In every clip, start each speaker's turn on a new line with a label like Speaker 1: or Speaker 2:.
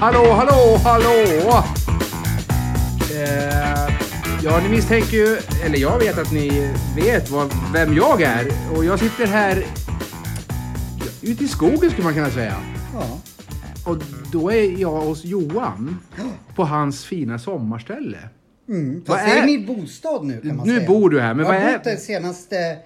Speaker 1: Hallå, hallå, hallå! Eh, ja, ni misstänker ju, eller jag vet att ni vet vad, vem jag är. Och jag sitter här ute i skogen skulle man kunna säga.
Speaker 2: Ja.
Speaker 1: Och då är jag hos Johan på hans fina sommarställe.
Speaker 2: Mm,
Speaker 1: Vad
Speaker 2: fast det
Speaker 1: är-
Speaker 2: är min bostad nu kan man
Speaker 1: Nu
Speaker 2: säga.
Speaker 1: bor du här, men
Speaker 2: jag
Speaker 1: vad
Speaker 2: har
Speaker 1: är-
Speaker 2: bott här senaste...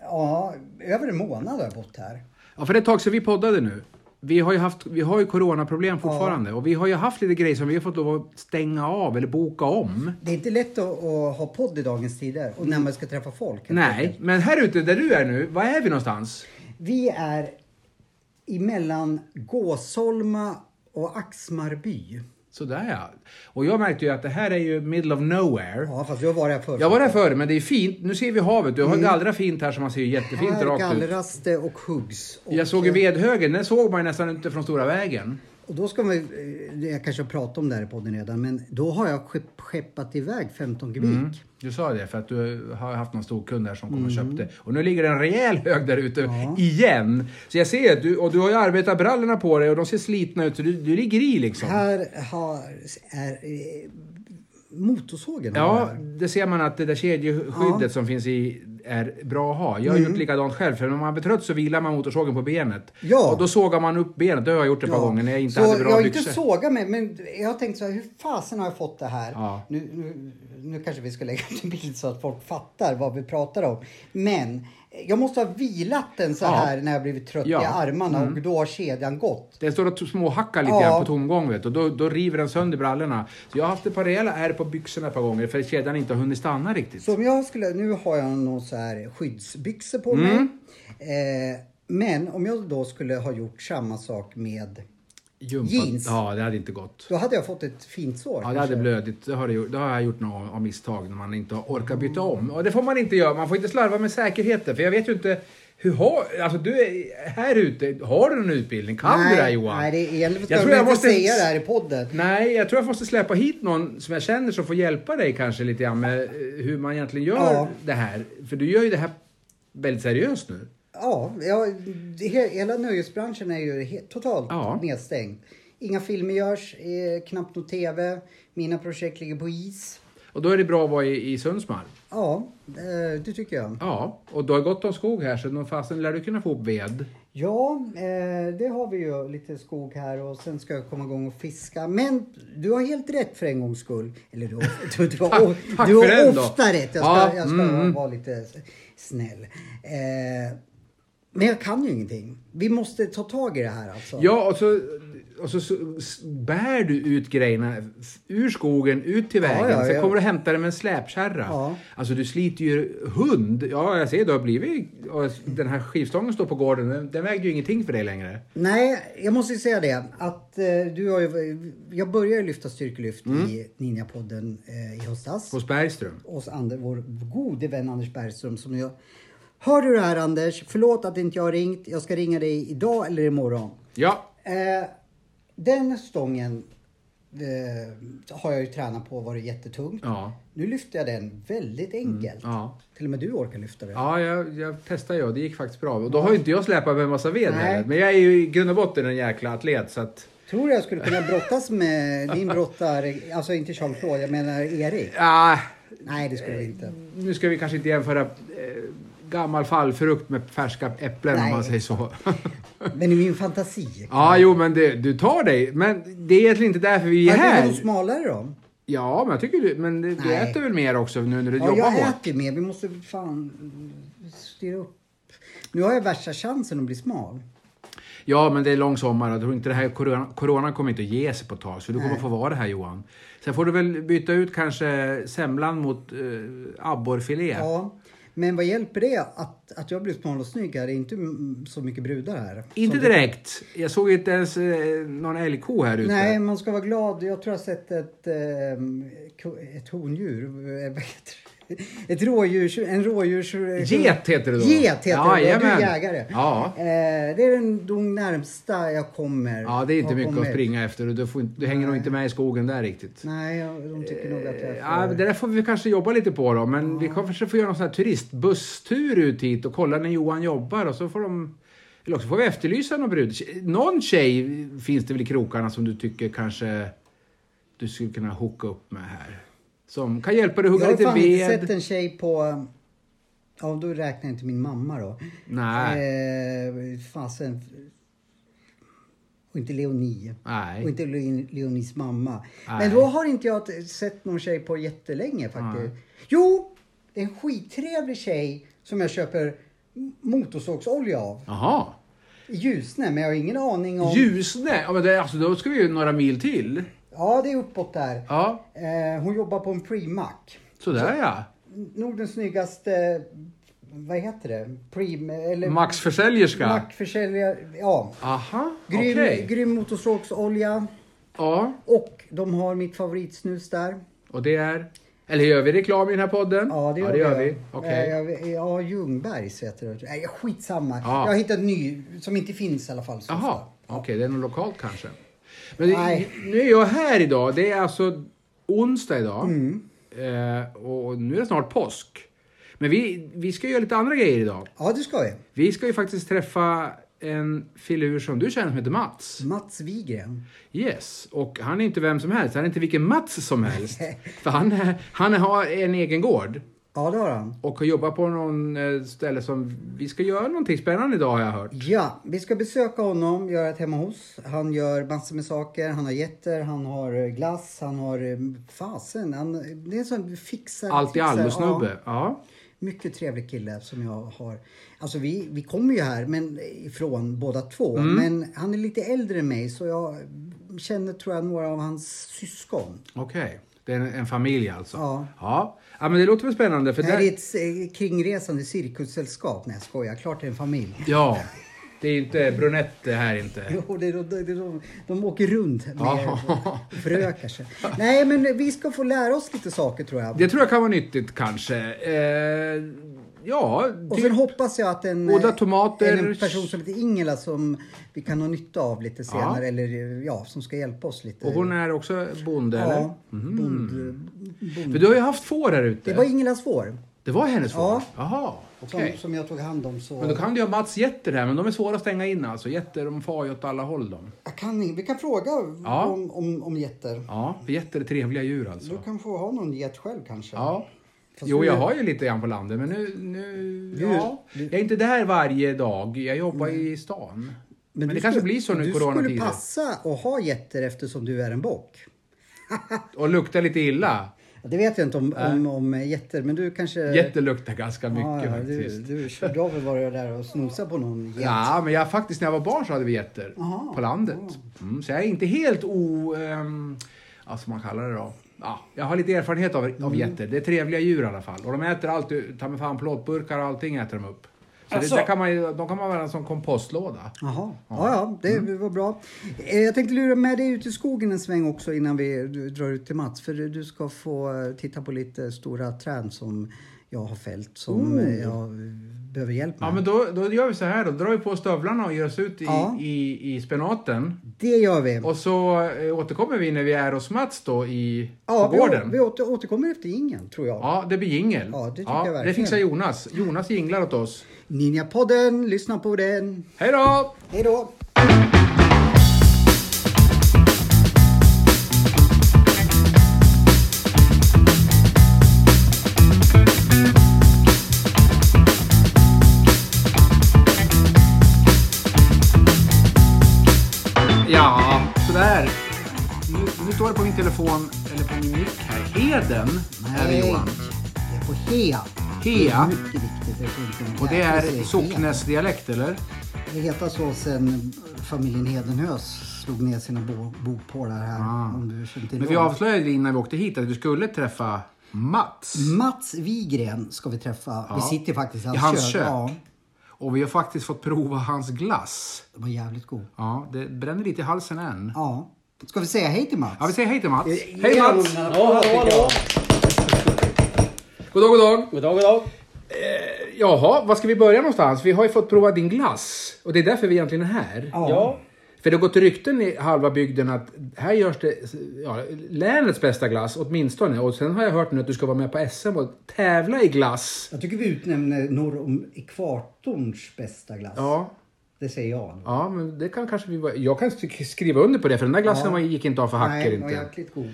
Speaker 2: Ja, över en månad har jag bott här.
Speaker 1: Ja, för det är ett tag sedan vi poddade nu. Vi har ju, haft, vi har ju coronaproblem fortfarande och vi har ju haft lite grejer som vi har fått lov att stänga av eller boka om.
Speaker 2: Det är inte lätt att, att ha podd i dagens tider och när man ska träffa folk. helt
Speaker 1: Nej,
Speaker 2: enkelt.
Speaker 1: men här ute där du är nu, var är vi någonstans?
Speaker 2: Vi är emellan Gåsholma och Axmarby.
Speaker 1: Sådär ja. Och jag märkte ju att det här är ju middle of nowhere.
Speaker 2: Ja, fast jag var här förut.
Speaker 1: Jag var där förr, men det är fint. Nu ser vi havet. Du har
Speaker 2: Mm.
Speaker 1: gallrat fint här som man ser ju jättefint
Speaker 2: Här
Speaker 1: rakt ut.
Speaker 2: gallras det och huggs. Och,
Speaker 1: Jag såg ju vedhögen, den såg man ju nästan inte från stora vägen.
Speaker 2: och då ska man ju- eh, jag kanske har pratat om det här i podden redan, men då har jag skepp- skeppat iväg 15 kubik.
Speaker 1: Mm. Du sa det för att du har haft någon stor kund där som kom och
Speaker 2: Mm.
Speaker 1: köpte. Och nu ligger det en rejäl hög där ute igen. Så jag ser att du, och du har ju arbetarbrallorna på dig och de ser slitna ut så du, du ligger i liksom.
Speaker 2: Här har, är eh, motorsågen. har jag
Speaker 1: Ja,
Speaker 2: här.
Speaker 1: det ser man att det där kedjeskyddet som finns i är bra att ha. Jag har
Speaker 2: Mm.
Speaker 1: gjort likadant själv, för när man blir trött så vilar man motorsågen på benet.
Speaker 2: Ja.
Speaker 1: Och då sågar man upp benet, det har jag gjort ett par
Speaker 2: Ja.
Speaker 1: gånger när jag inte
Speaker 2: så
Speaker 1: hade bra
Speaker 2: jag har
Speaker 1: byxor.
Speaker 2: inte sågat mig, men jag har tänkt så här, hur fasen har jag fått det här?
Speaker 1: Ja.
Speaker 2: Nu, nu, nu kanske vi ska lägga ut en bild så att folk fattar vad vi pratar om. Men jag måste ha vilat den så
Speaker 1: Ja.
Speaker 2: här när jag blivit trött
Speaker 1: Ja. Mm.
Speaker 2: i armarna och då har kedjan gått.
Speaker 1: Den står och t- småhackar lite
Speaker 2: Ja.
Speaker 1: grann på tomgång vet, du, och då, då river den sönder brallorna. Så jag har haft ett par rejäla ärr på byxorna ett par gånger för kedjan inte har hunnit stanna riktigt.
Speaker 2: Så om jag skulle, nu har jag någon så här skyddsbyxor på
Speaker 1: Mm.
Speaker 2: mig. Eh, men om jag då skulle ha gjort samma sak med,
Speaker 1: Jumpa.
Speaker 2: Jeans.
Speaker 1: Ja, det hade inte gått.
Speaker 2: då hade jag fått ett fint sår.
Speaker 1: Ja, det
Speaker 2: kanske.
Speaker 1: hade blödigt. Det har, det, gjort- det har jag gjort några av misstag när man inte har orkat byta om. Och det får man inte göra. Man får inte slarva med säkerheten. För jag vet ju inte hur har... Alltså du är här ute. Har du en utbildning? Kan
Speaker 2: nej,
Speaker 1: du det här Johan?
Speaker 2: Nej, det är, jag,
Speaker 1: tror
Speaker 2: tror
Speaker 1: jag
Speaker 2: jag inte
Speaker 1: måste-
Speaker 2: säga det här i podden.
Speaker 1: Nej, jag tror jag måste släppa hit någon som jag känner som får hjälpa dig kanske lite grann med eh, hur man egentligen gör
Speaker 2: Ja.
Speaker 1: det här. För du gör ju det här väldigt seriöst nu.
Speaker 2: Ja, ja det- he- hela nöjesbranschen är ju he- totalt
Speaker 1: Ja.
Speaker 2: nedstängd. Inga filmer görs, eh, knappt någon TV. Mina projekt ligger på is.
Speaker 1: Och då är det bra att vara i, i Sundsvall.
Speaker 2: Ja, eh, det tycker jag.
Speaker 1: Ja, och du har gott om skog här så någon fasen lär du kunna få upp ved.
Speaker 2: Ja, eh, det har vi ju lite skog här och sen ska jag komma igång och fiska. Men du har helt rätt för en gångs skull. Eller du, har- du, du, har-
Speaker 1: Tack- tack
Speaker 2: du
Speaker 1: för
Speaker 2: har
Speaker 1: den då.
Speaker 2: ofta rätt. Jag ska,
Speaker 1: Ja,
Speaker 2: jag ska
Speaker 1: mm.
Speaker 2: vara lite s- snäll. Eh, men jag kan ju ingenting. Vi måste ta tag i det här alltså.
Speaker 1: Ja, och så, och så, så s- bär du ut grejerna f- ur skogen, ut till
Speaker 2: Ja,
Speaker 1: vägen.
Speaker 2: ja,
Speaker 1: Sen
Speaker 2: ja.
Speaker 1: kommer du hämta det med en släpkärra.
Speaker 2: Ja.
Speaker 1: Alltså du sliter ju hund. Ja, jag ser du har blivit... Och den här skivstången står på gården. Den, den vägde ju ingenting för dig längre.
Speaker 2: Nej, jag måste ju säga det att eh, du har ju, jag började lyfta styrkelyft
Speaker 1: Mm.
Speaker 2: i Ninja-podden eh, i höstas.
Speaker 1: Hos Bergström.
Speaker 2: Hos Ander, vår gode vän Anders Bergström som jag... Hör du det här Anders? Förlåt att inte jag har ringt. Jag ska ringa dig idag eller imorgon.
Speaker 1: Ja.
Speaker 2: Eh, den stången eh, har jag ju tränat på och varit jättetung.
Speaker 1: Ja. Mm,
Speaker 2: Nu lyfter jag den väldigt enkelt.
Speaker 1: ja.
Speaker 2: Till och med du orkar lyfta den.
Speaker 1: Ja, jag, jag testade ju och det gick faktiskt bra. Och då har ju inte jag släpat med en massa ved
Speaker 2: Nej.
Speaker 1: heller. Men jag är ju i grund och botten en jäkla atlet så att...
Speaker 2: Tror du jag skulle kunna brottas med din brottare, alltså inte Jean-Claude, jag menar Erik?
Speaker 1: Ja,
Speaker 2: Nej, det skulle vi inte.
Speaker 1: nu ska vi kanske inte jämföra eh, gammal fallfrukt med färska äpplen om
Speaker 2: Nej.
Speaker 1: man säger så.
Speaker 2: Men i min fantasi.
Speaker 1: Ja, jo, men det, du tar dig. Men det är egentligen inte därför vi är
Speaker 2: Varför är
Speaker 1: här.
Speaker 2: de smalare då?
Speaker 1: Ja, men jag tycker du... Men du, du
Speaker 2: Nej.
Speaker 1: äter väl mer också nu när du
Speaker 2: Ja,
Speaker 1: jobbar
Speaker 2: jag
Speaker 1: hårt?
Speaker 2: äter mer. Vi måste fan mm, styra upp. Nu har jag värsta chansen att bli smal.
Speaker 1: Ja, men det är lång sommar och jag tror inte det här corona, corona kommer inte att ge sig på ett tag. Så du kommer få vara det här Johan. Sen får du väl byta ut kanske semlan mot eh, abborrfilé.
Speaker 2: Ja. Men vad hjälper det att, att jag blir smal och snygg här? Det är inte mm, så mycket brudar här.
Speaker 1: Inte
Speaker 2: Som-
Speaker 1: direkt. Jag såg inte ens eh, någon älgko här ute.
Speaker 2: Nej, man ska vara glad. Jag tror jag har sett ett, ehm, ko- ett hondjur. Eh, vad heter det? Ett rådjurs... En rådjurs...
Speaker 1: Get heter det då.
Speaker 2: Get heter
Speaker 1: ja,
Speaker 2: det. Du är
Speaker 1: jajamän.
Speaker 2: jägare.
Speaker 1: Ja.
Speaker 2: Eh, det är den, de närmsta jag kommer.
Speaker 1: Ja, det är inte
Speaker 2: har
Speaker 1: mycket att
Speaker 2: kommit.
Speaker 1: springa efter. Du, får inte, du hänger nog inte med i skogen där riktigt.
Speaker 2: Nej, jag- de tycker nog att jag är
Speaker 1: Eh, Ja,
Speaker 2: för-
Speaker 1: det där får vi kanske jobba lite på då, men vi kanske får göra någon sån här turistbusstur ut hit och kolla när Johan jobbar och så får de... Eller också får vi efterlysa någon brud. Någon tjej finns det väl i krokarna som du tycker kanske du skulle kunna hooka upp med här? Som kan hjälpa dig att hugga
Speaker 2: Jag har
Speaker 1: lite
Speaker 2: fan inte sett
Speaker 1: ved.
Speaker 2: en tjej på... Ja, då räknar jag inte min mamma då.
Speaker 1: Nej.
Speaker 2: Eh, fasen. Och inte Leonie. Och
Speaker 1: Nej.
Speaker 2: inte Leon- Leonies mamma.
Speaker 1: Nej.
Speaker 2: Men då har inte jag t- sett någon tjej på jättelänge faktiskt. Jo, det är en skittrevlig tjej som jag köper m- motorsågsolja av.
Speaker 1: Jaha.
Speaker 2: I Ljusne, men jag har ingen aning om...
Speaker 1: Ljusne? Ja, men det, alltså, då ska vi ju några mil till.
Speaker 2: ja, det är uppåt där.
Speaker 1: Ja,
Speaker 2: Eh, hon jobbar på en pre-mack.
Speaker 1: sådär ja.
Speaker 2: Nordens snyggaste... Vad heter det? Pre... Eller...
Speaker 1: Max försäljerska.
Speaker 2: Mackförsäljare. Ja.
Speaker 1: Aha, okej.
Speaker 2: Grym, grym motorsågsolja.
Speaker 1: Ja,
Speaker 2: Och de har mitt favoritsnus där.
Speaker 1: och det är? Eller gör vi reklam i den här podden?
Speaker 2: Ja, det gör,
Speaker 1: vi. Okej.
Speaker 2: Eh, jag- Ja, Ljungbergs heter det. Nej, skitsamma.
Speaker 1: Ja.
Speaker 2: Jag har hittat en ny som inte finns i alla fall. så
Speaker 1: Jaha,
Speaker 2: ofta.
Speaker 1: okej, det är nog lokalt kanske. Men det,
Speaker 2: Nej.
Speaker 1: nu är jag här idag. Det är alltså onsdag idag.
Speaker 2: Mm.
Speaker 1: Eh, och nu är det snart påsk. Men vi, vi ska göra lite andra grejer idag.
Speaker 2: Ja, det ska vi.
Speaker 1: Vi ska ju faktiskt träffa en filur som du känner som heter Mats.
Speaker 2: Mats Wigren.
Speaker 1: Yes, och han är inte vem som helst. Han är inte vilken Mats som helst. För han, är, han har en egen gård.
Speaker 2: Ja, det har han.
Speaker 1: och har jobbat på någon eh, ställe som vi ska göra någonting spännande idag har jag hört.
Speaker 2: Ja, vi ska besöka honom, göra ett hemma hos. Han gör massor med saker. Han har getter, han har eh, glass, han har... eh, Fasen, han, det är en sån fixar...
Speaker 1: Allt i
Speaker 2: fixar- Ja.
Speaker 1: allo-snubbe. Ja.
Speaker 2: Mycket trevlig kille som jag har. Alltså vi, vi kommer ju här men ifrån båda två.
Speaker 1: Mm.
Speaker 2: Men han är lite äldre än mig så jag känner tror jag några av hans syskon.
Speaker 1: Okej. Det är en, en familj alltså?
Speaker 2: Ja.
Speaker 1: ja. Ja, men det låter väl spännande. För
Speaker 2: Det här
Speaker 1: där,
Speaker 2: är ett eh, kringresande cirkussällskap. Nej jag skojar, klart det är en familj.
Speaker 1: Ja. Det är ju inte brunett det här inte.
Speaker 2: Jo, det är, de, de, de, de åker runt med
Speaker 1: Eh. Ja.
Speaker 2: och förökar sig. Nej men vi ska få lära oss lite saker tror jag.
Speaker 1: Det tror jag kan vara nyttigt kanske. Eh, ja.
Speaker 2: Och
Speaker 1: typ-
Speaker 2: sen hoppas jag att en,
Speaker 1: Odla
Speaker 2: eh,
Speaker 1: tomater.
Speaker 2: en person som heter Ingela som vi kan ha nytta av lite senare. Eller eh, ja, som ska hjälpa oss lite.
Speaker 1: och hon är också bonde eller? Mm.
Speaker 2: Ja, bond, bond.
Speaker 1: För du har ju haft får här
Speaker 2: Det
Speaker 1: ute.
Speaker 2: var Ingelas får
Speaker 1: Det var hennes får?
Speaker 2: Ja.
Speaker 1: Jaha,
Speaker 2: som,
Speaker 1: okej.
Speaker 2: som jag tog hand om. Så
Speaker 1: Men då kan du ju ha Mats getter här, men de är svåra att stänga in alltså. Getter, de far ju åt alla håll de.
Speaker 2: jag kan, in- vi kan fråga
Speaker 1: Ja.
Speaker 2: om, om, om getter.
Speaker 1: Ja, för getter är trevliga djur alltså.
Speaker 2: Du kan få ha någon get själv kanske.
Speaker 1: Ja.
Speaker 2: Fast
Speaker 1: Jo,
Speaker 2: nu-
Speaker 1: jag har ju lite grann på landet, men nu... nu
Speaker 2: Du-
Speaker 1: ja. Jag är inte där varje dag. Jag jobbar i stan. Men,
Speaker 2: du
Speaker 1: det kanske
Speaker 2: skulle-
Speaker 1: blir så nu i
Speaker 2: Du skulle
Speaker 1: coronatider.
Speaker 2: passa och ha getter eftersom du är en bock.
Speaker 1: Och luktar lite illa.
Speaker 2: Ja, Det vet jag inte om, om, om getter, men du kanske...
Speaker 1: Jätte luktar ganska mycket
Speaker 2: Eh. ja, ja,
Speaker 1: faktiskt.
Speaker 2: du, du är så bra för vad du är där och snosa på någon get.
Speaker 1: Ja, men jag, faktiskt när jag var barn så hade vi getter
Speaker 2: Aha.
Speaker 1: på landet. Mm, så jag är inte helt o... Um, alltså man kallar det då. Ja, jag har lite erfarenhet av,
Speaker 2: Mm.
Speaker 1: av getter. Det är trevliga djur i alla fall. Och de äter allt, ta mig fan plåtburkar och allting äter de upp. Så
Speaker 2: Alltså.
Speaker 1: det, där kan man, ju- de kan man använda som kompostlåda.
Speaker 2: Jaha, ja, ja det
Speaker 1: Mm.
Speaker 2: var bra. Eh, Jag tänkte lura med dig ut i skogen en sväng också innan vi du- drar ut till Mats. För du ska få eh, titta på lite stora träd som jag har fällt som eh, jag behöver hjälp med.
Speaker 1: Ja, men då, då gör vi så här då. Drar vi på stövlarna och ger oss ut i,
Speaker 2: Ja.
Speaker 1: i, i spenaten.
Speaker 2: Det gör vi.
Speaker 1: Och så eh, återkommer vi när vi är hos Mats då i
Speaker 2: Ja,
Speaker 1: på
Speaker 2: vi,
Speaker 1: gården.
Speaker 2: å- vi åter, återkommer efter ingen tror jag.
Speaker 1: Ja, det blir jingel.
Speaker 2: Ja, det tycker jag
Speaker 1: det
Speaker 2: verkligen.
Speaker 1: fixar Jonas. Jonas jinglar åt oss.
Speaker 2: Ninja-podden, lyssna på den.
Speaker 1: Hej då!
Speaker 2: Hej då!
Speaker 1: Ja, sådär. Nu, nu står det på min telefon, eller på min mick här. Heden är det Johan.
Speaker 2: Det är på Hea.
Speaker 1: Hea.
Speaker 2: Det är mycket viktigt. Det är så inte-
Speaker 1: Och det
Speaker 2: Jag
Speaker 1: är
Speaker 2: säger Hea.
Speaker 1: socknäsdialekt, eller?
Speaker 2: Det heter så sen familjen Hedenhös slog ner sina bo, bopålar här.
Speaker 1: Ah.
Speaker 2: Om du känner till
Speaker 1: Men vi
Speaker 2: dem.
Speaker 1: avslöjade innan vi åkte hit att vi skulle träffa Mats.
Speaker 2: Mats Wigren ska vi träffa. Vi sitter faktiskt i
Speaker 1: I hans kök.
Speaker 2: Ja,
Speaker 1: Och vi har faktiskt fått prova hans glass.
Speaker 2: de var jävligt god.
Speaker 1: Ja, det bränner lite i halsen än.
Speaker 2: Ja. Ska vi säga hej till Mats?
Speaker 1: Ja, vi säger hej till Mats. Hej Mats!
Speaker 2: Ja, hallå, hallå.
Speaker 1: God dag, god dag.
Speaker 3: God dag, god dag.
Speaker 1: Eh, jaha, var ska vi börja någonstans? Vi har ju fått prova din glass. Och det är därför vi egentligen är här.
Speaker 2: Ja.
Speaker 3: Ja,
Speaker 1: För det har gått rykten i halva bygden att här görs det ja, länets bästa glass, åtminstone. Och sen har jag hört nu att du ska vara med på SM och tävla i glass.
Speaker 2: Jag tycker vi utnämner norr om ekvatorns bästa glass.
Speaker 1: Ja,
Speaker 2: Det säger jag.
Speaker 1: ja men det kan kanske vi vara. Jag kan sk- skriva under på det, för den där glassen
Speaker 2: Ja.
Speaker 1: var gick inte av för hacker
Speaker 2: Nej,
Speaker 1: inte.
Speaker 2: var jäkligt god.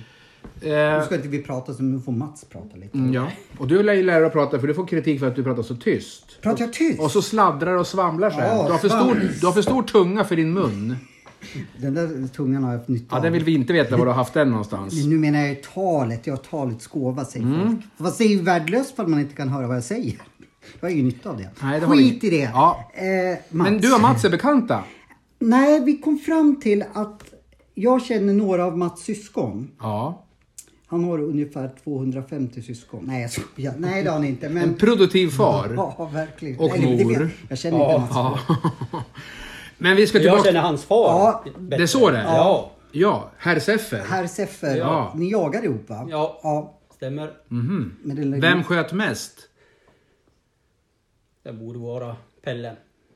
Speaker 2: Nu
Speaker 1: Eh,
Speaker 2: ska inte vi prata så nu får Mats prata lite.
Speaker 1: mm, ja. Och du lär ju lära dig att prata, för du får kritik för att du pratar så tyst.
Speaker 2: Pratar jag tyst?
Speaker 1: Och så sladdrar och svamlar så här.
Speaker 2: Ja,
Speaker 1: du, har för stor,
Speaker 2: svamlis.
Speaker 1: du har för stor tunga för din mun.
Speaker 2: Den där tungan har jag haft nytta
Speaker 1: Ja, den vill vi inte veta var du har haft den någonstans.
Speaker 2: Nu menar jag ju talet, jag har talets gåva säger
Speaker 1: Mm.
Speaker 2: folk. För Vad säger värdelöst om man inte kan höra vad jag säger? Jag har ju nytta av det.
Speaker 1: Nej, det har
Speaker 2: Skit
Speaker 1: vi-
Speaker 2: i det.
Speaker 1: Ja.
Speaker 2: Eh, Mats.
Speaker 1: Men du och Mats är bekanta.
Speaker 2: Nej, vi kom fram till att jag känner några av Mats syskon.
Speaker 1: Ja.
Speaker 2: Han har ungefär 250 syskon. Nej, jag skojar. Nej, det har han inte. Men...
Speaker 1: En produktiv far.
Speaker 2: Ja, verkligen.
Speaker 1: Och
Speaker 2: Nej, det- det-
Speaker 1: mor.
Speaker 2: Jag känner inte Mats.
Speaker 1: Ja. Men vi ska
Speaker 3: jag
Speaker 1: tillbaka...
Speaker 3: känner hans far.
Speaker 2: Ja,
Speaker 1: Det är så det är?
Speaker 3: Ja,
Speaker 1: Ja, herr Seffer.
Speaker 2: Herr Seffer,
Speaker 1: Ja.
Speaker 2: ni jagar ihop va?
Speaker 3: Ja.
Speaker 2: ja
Speaker 3: stämmer.
Speaker 2: men det
Speaker 1: Vem sköt mest?
Speaker 3: Det borde vara Pelle.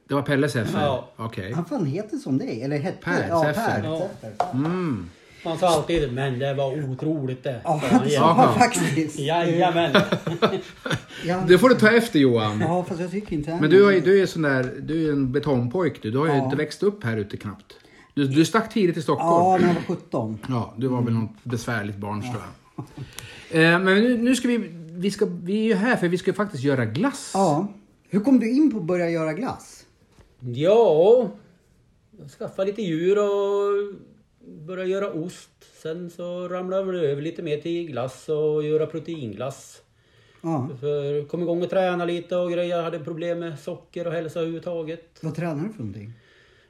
Speaker 1: Det var Pelle Seffer?
Speaker 3: Ja.
Speaker 1: Okej.
Speaker 2: Han fan heter som dig, eller hette?
Speaker 1: Per
Speaker 2: ja,
Speaker 1: Seffer.
Speaker 2: Per
Speaker 3: Ja.
Speaker 2: Seffer. Ja,
Speaker 3: Han sa alltid men det var otroligt det.
Speaker 2: ja,
Speaker 3: sa han
Speaker 2: det
Speaker 3: igen.
Speaker 2: sa
Speaker 1: Jaha.
Speaker 2: han faktiskt.
Speaker 3: Jajamän.
Speaker 2: Ja,
Speaker 1: Det får du ta efter Johan.
Speaker 2: ja, fast jag tycker inte han-
Speaker 1: Men du, har ju, du är sån där, du är en betongpojk du. Du har ju
Speaker 2: Ja.
Speaker 1: inte växt upp här ute knappt. Du, du stack tidigt i Stockholm.
Speaker 2: Ja, när jag var 17.
Speaker 1: Ja, du var väl
Speaker 3: Mm.
Speaker 1: något besvärligt barn tror jag. Eh, Men nu, nu ska vi... Vi, ska, vi är ju här för vi ska faktiskt göra glass.
Speaker 2: Ja. Hur kom du in på att börja göra glass?
Speaker 3: ja, jag skaffade lite djur och började göra ost. Sen så ramlade jag över lite mer till glass och göra proteinglass.
Speaker 2: Ja.
Speaker 3: För kom igång och träna lite och grejer. Jag hade problem med socker och hälsa överhuvudtaget.
Speaker 2: Vad tränar du för någonting?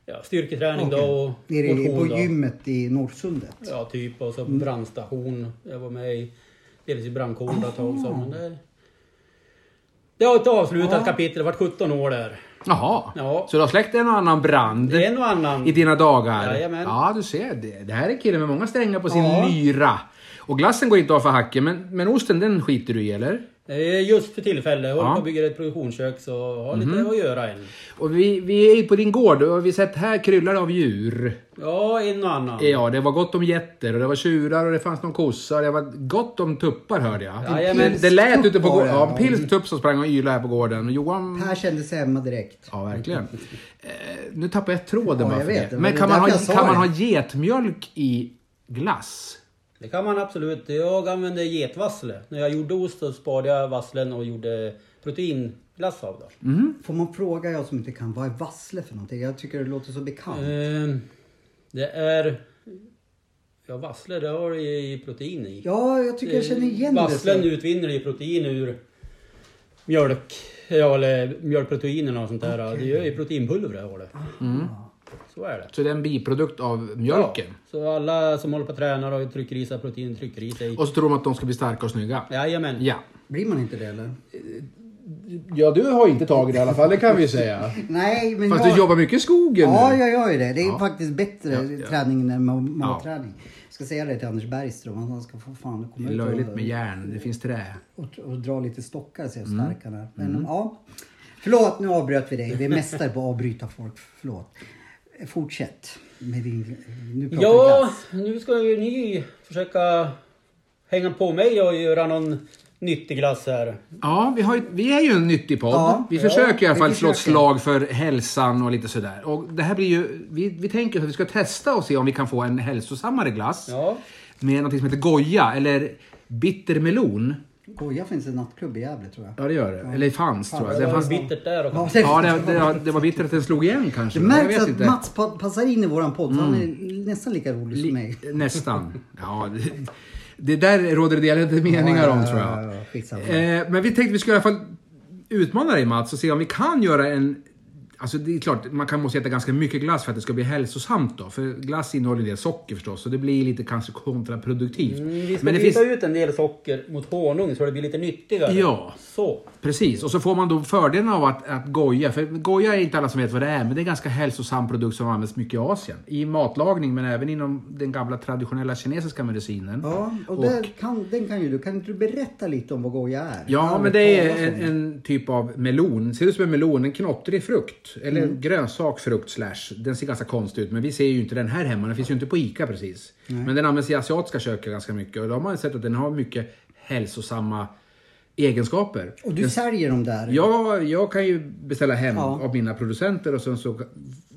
Speaker 3: Ja, styrketräning då och
Speaker 2: Nere i-
Speaker 3: motion
Speaker 2: på
Speaker 3: då.
Speaker 2: gymmet i Norrsundet?
Speaker 3: Ja, typ. Och så
Speaker 1: Mm.
Speaker 3: brandstation. Jag var med i, delvis i brandkåren ett tag. Så, men det, det har ett avslutat kapitel. Det har varit 17 år där.
Speaker 1: Jaha,
Speaker 3: Ja.
Speaker 1: så du har släckt en och annan brand
Speaker 3: Det är en och annan.
Speaker 1: i dina dagar?
Speaker 3: Jajamän.
Speaker 1: Ja, du ser. Det, det här är killen med många strängar på sin
Speaker 2: Ja.
Speaker 1: lyra. Och glassen går inte av för hacken, men, men osten den skiter du i, eller?
Speaker 3: Eh, Just för tillfället. Jag håller
Speaker 1: Ja. Mhm.
Speaker 3: på att bygga ett produktionskök så har lite att göra än.
Speaker 1: Och vi, vi är ju på din gård och vi har sett här kryllar av djur.
Speaker 3: Ja, en och annan.
Speaker 1: Ja, det var gott om getter och det var tjurar och det fanns någon kossa och det var gott om tuppar hörde jag.
Speaker 3: Jajamän.
Speaker 1: det, det lät ute på
Speaker 2: Pilstupp var
Speaker 1: gården.
Speaker 2: det,
Speaker 1: Ja, en
Speaker 2: ja.
Speaker 1: pilstupp som sprang och ylade här på gården. Och Johan...
Speaker 2: Per kände sig hemma direkt.
Speaker 1: Ja, verkligen. Eh, nu tappar jag tråden
Speaker 2: Ja,
Speaker 1: bara
Speaker 2: jag
Speaker 1: för
Speaker 2: vet.
Speaker 1: det.
Speaker 2: Men
Speaker 1: Men
Speaker 2: det
Speaker 1: kan
Speaker 2: är
Speaker 1: man, ha,
Speaker 2: därför jag sa
Speaker 1: kan man
Speaker 2: det.
Speaker 1: ha getmjölk i glass?
Speaker 3: Det kan man absolut. Jag använde getvassle. När jag gjorde ost så sparade jag vasslen och gjorde proteinglass av det.
Speaker 1: Mm.
Speaker 2: Får man fråga jag som inte kan, vad är vassle för någonting? Jag tycker det låter så bekant.
Speaker 3: Ehm, Det är... Ja, vassle det har i protein i.
Speaker 2: Ja, jag tycker jag känner igen
Speaker 3: Vasslen
Speaker 2: det.
Speaker 3: utvinner ju protein ur mjölk, ja, eller mjölkproteinerna och sånt där. Det gör ju proteinpulver det har det.
Speaker 1: Mm.
Speaker 3: Så är det.
Speaker 1: Så det är en biprodukt av mjölken.
Speaker 3: Ja, så alla som håller på och tränar och trycker i sig protein trycker i sig.
Speaker 1: Och så tror de att de ska bli starka och snygga.
Speaker 3: Jajamän.
Speaker 1: Ja.
Speaker 2: Blir man inte det eller?
Speaker 1: Ja, du har inte tagit det i alla fall, det kan vi säga.
Speaker 2: Nej, men
Speaker 1: Fast
Speaker 2: jag...
Speaker 1: du jobbar mycket i skogen
Speaker 2: Ja,
Speaker 1: nu.
Speaker 2: jag gör ju det. Det är faktiskt bättre
Speaker 1: Ja,
Speaker 2: träning än ma-
Speaker 1: Ja.
Speaker 2: magträning. Jag ska säga det till Anders Bergström, att han ska få fan komma
Speaker 1: Det är
Speaker 2: ut
Speaker 1: löjligt
Speaker 2: och,
Speaker 1: med järn, det finns trä.
Speaker 2: och, och dra lite stockar så jag
Speaker 1: Mm.
Speaker 2: stark han är. Men ja. Förlåt, nu avbröt vi dig. Vi är mästare på att avbryta folk. Förlåt. Fortsätt med din... Nu pratar vi
Speaker 3: Ja,
Speaker 2: glass.
Speaker 3: nu ska ju ni försöka hänga på mig och göra någon nyttig glass här.
Speaker 1: Ja, vi, har, ju- vi är ju en nyttig podd.
Speaker 2: Ja,
Speaker 1: vi försöker i alla
Speaker 2: vi
Speaker 1: fall slå ett
Speaker 2: försöker.
Speaker 1: slag för hälsan och lite sådär. Och det här blir ju, vi, vi tänker att vi ska testa och se om vi kan få en hälsosammare glass.
Speaker 3: Ja.
Speaker 1: Med någonting som heter goja, eller bittermelon.
Speaker 2: Koja finns en nattklubb i Gävle tror jag.
Speaker 1: Ja, det gör det. Eller fanns tror jag.
Speaker 3: Det
Speaker 1: Det
Speaker 3: var
Speaker 1: fanns,
Speaker 3: bittert där och
Speaker 2: Ja,
Speaker 1: ja, det, det, det var bittert att den slog igen
Speaker 2: Det
Speaker 1: kanske. Jag
Speaker 2: märks
Speaker 1: vet
Speaker 2: att
Speaker 1: inte. Mm.
Speaker 2: Mats pa- passar in i våran podd, för han är nästan lika rolig som mig.
Speaker 1: Li- nästan. Ja, det, det där råder det delade meningar om tror jag.
Speaker 2: Ja, ja, skitsamma.
Speaker 1: Eh, men vi tänkte vi skulle i alla fall utmana dig Mats och se om vi kan göra en Alltså det är klart, man kan måste äta ganska mycket glass för att det ska bli hälsosamt då. För glass innehåller en del socker förstås, så det blir lite kanske kontraproduktivt.
Speaker 3: Mm, vi ska
Speaker 1: Men det
Speaker 3: byta
Speaker 1: finns...
Speaker 3: ut en del socker mot honung så det blir lite nyttigare.
Speaker 1: Ja.
Speaker 3: Så.
Speaker 1: Precis, och så får man då fördelen av att, att goja. För goja är inte alla som vet vad det är, men det är en ganska hälsosam produkt som används mycket i Asien. I matlagning, men även inom den gamla traditionella kinesiska medicinen.
Speaker 2: Ja, och,
Speaker 1: Och-
Speaker 2: där kan, den kan ju du. Kan inte du berätta lite om vad goja är? Jag har
Speaker 1: Ja, men
Speaker 2: aldrig
Speaker 1: det är
Speaker 2: talat om
Speaker 1: en, en typ av melon. Ser ut som en melon, en knottrig frukt. Eller en grönsak, frukt, slash. Den ser ganska konstig ut, men vi ser ju inte den här hemma. Den finns ju inte på ICA precis. Men den används i asiatiska kök ganska mycket. Och då har man sett att den har mycket hälsosamma egenskaper.
Speaker 2: Och du säljer dem där?
Speaker 1: Jag, jag kan ju beställa hem
Speaker 2: Ja.
Speaker 1: av mina producenter och sen så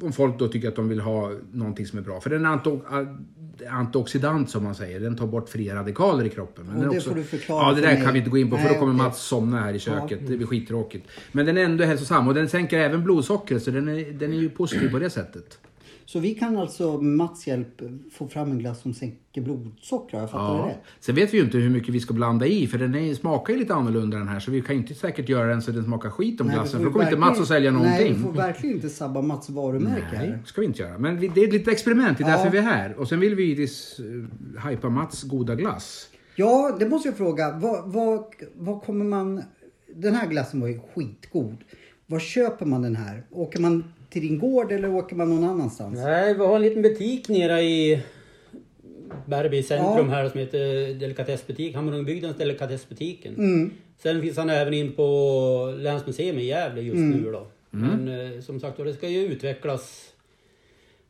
Speaker 1: om folk då tycker att de vill ha någonting som är bra. För den är anto, a- antioxidant som man säger. Den tar bort fria radikaler i kroppen. Men
Speaker 2: Och
Speaker 1: den
Speaker 2: det
Speaker 1: också,
Speaker 2: får du förklara
Speaker 1: Ja, det
Speaker 2: för
Speaker 1: där
Speaker 2: mig.
Speaker 1: kan vi inte gå in på för
Speaker 2: Nej,
Speaker 1: då kommer
Speaker 2: okej.
Speaker 1: Mats somna här i köket. Det blir skittråkigt. Men den är ändå hälsosam och den sänker även blodsockret så den är, den är ju positiv på det sättet.
Speaker 2: Så vi kan alltså med Mats hjälp få fram en glass som sänker blodsocker, har jag fattat det
Speaker 1: Ja.
Speaker 2: rätt?
Speaker 1: Sen vet vi ju inte hur mycket vi ska blanda i för den är, smakar ju lite annorlunda den här så vi kan ju inte säkert göra den så den smakar skit om
Speaker 2: Nej,
Speaker 1: glassen
Speaker 2: vi
Speaker 1: Alltså, för då
Speaker 2: får
Speaker 1: kommer inte Mats
Speaker 2: verkligen-
Speaker 1: att sälja någonting.
Speaker 2: Nej, vi får verkligen inte sabba Mats varumärke
Speaker 1: Nej,
Speaker 2: här.
Speaker 1: det ska vi inte göra. Men vi, det är ett litet experiment, det är
Speaker 2: Ja.
Speaker 1: därför vi är här. Och sen vill vi ju dis, eh, hypa Mats goda glass.
Speaker 2: Ja, det måste jag fråga. Vad, vad, vad kommer man... Den här glassen var ju skitgod. Var köper man den här? Åker man till din gård eller åker man någon annanstans?
Speaker 3: Nej, vi har en liten butik nere i Bärby centrum
Speaker 2: Ja.
Speaker 3: här som heter Delikatessbutik, Hammarungbygdens Delikatessbutiken.
Speaker 2: Mm.
Speaker 3: Sen finns han även in på Länsmuseum i Gävle just
Speaker 2: Mm.
Speaker 3: nu då.
Speaker 1: Mm.
Speaker 3: Men eh, som sagt då, det ska ju utvecklas.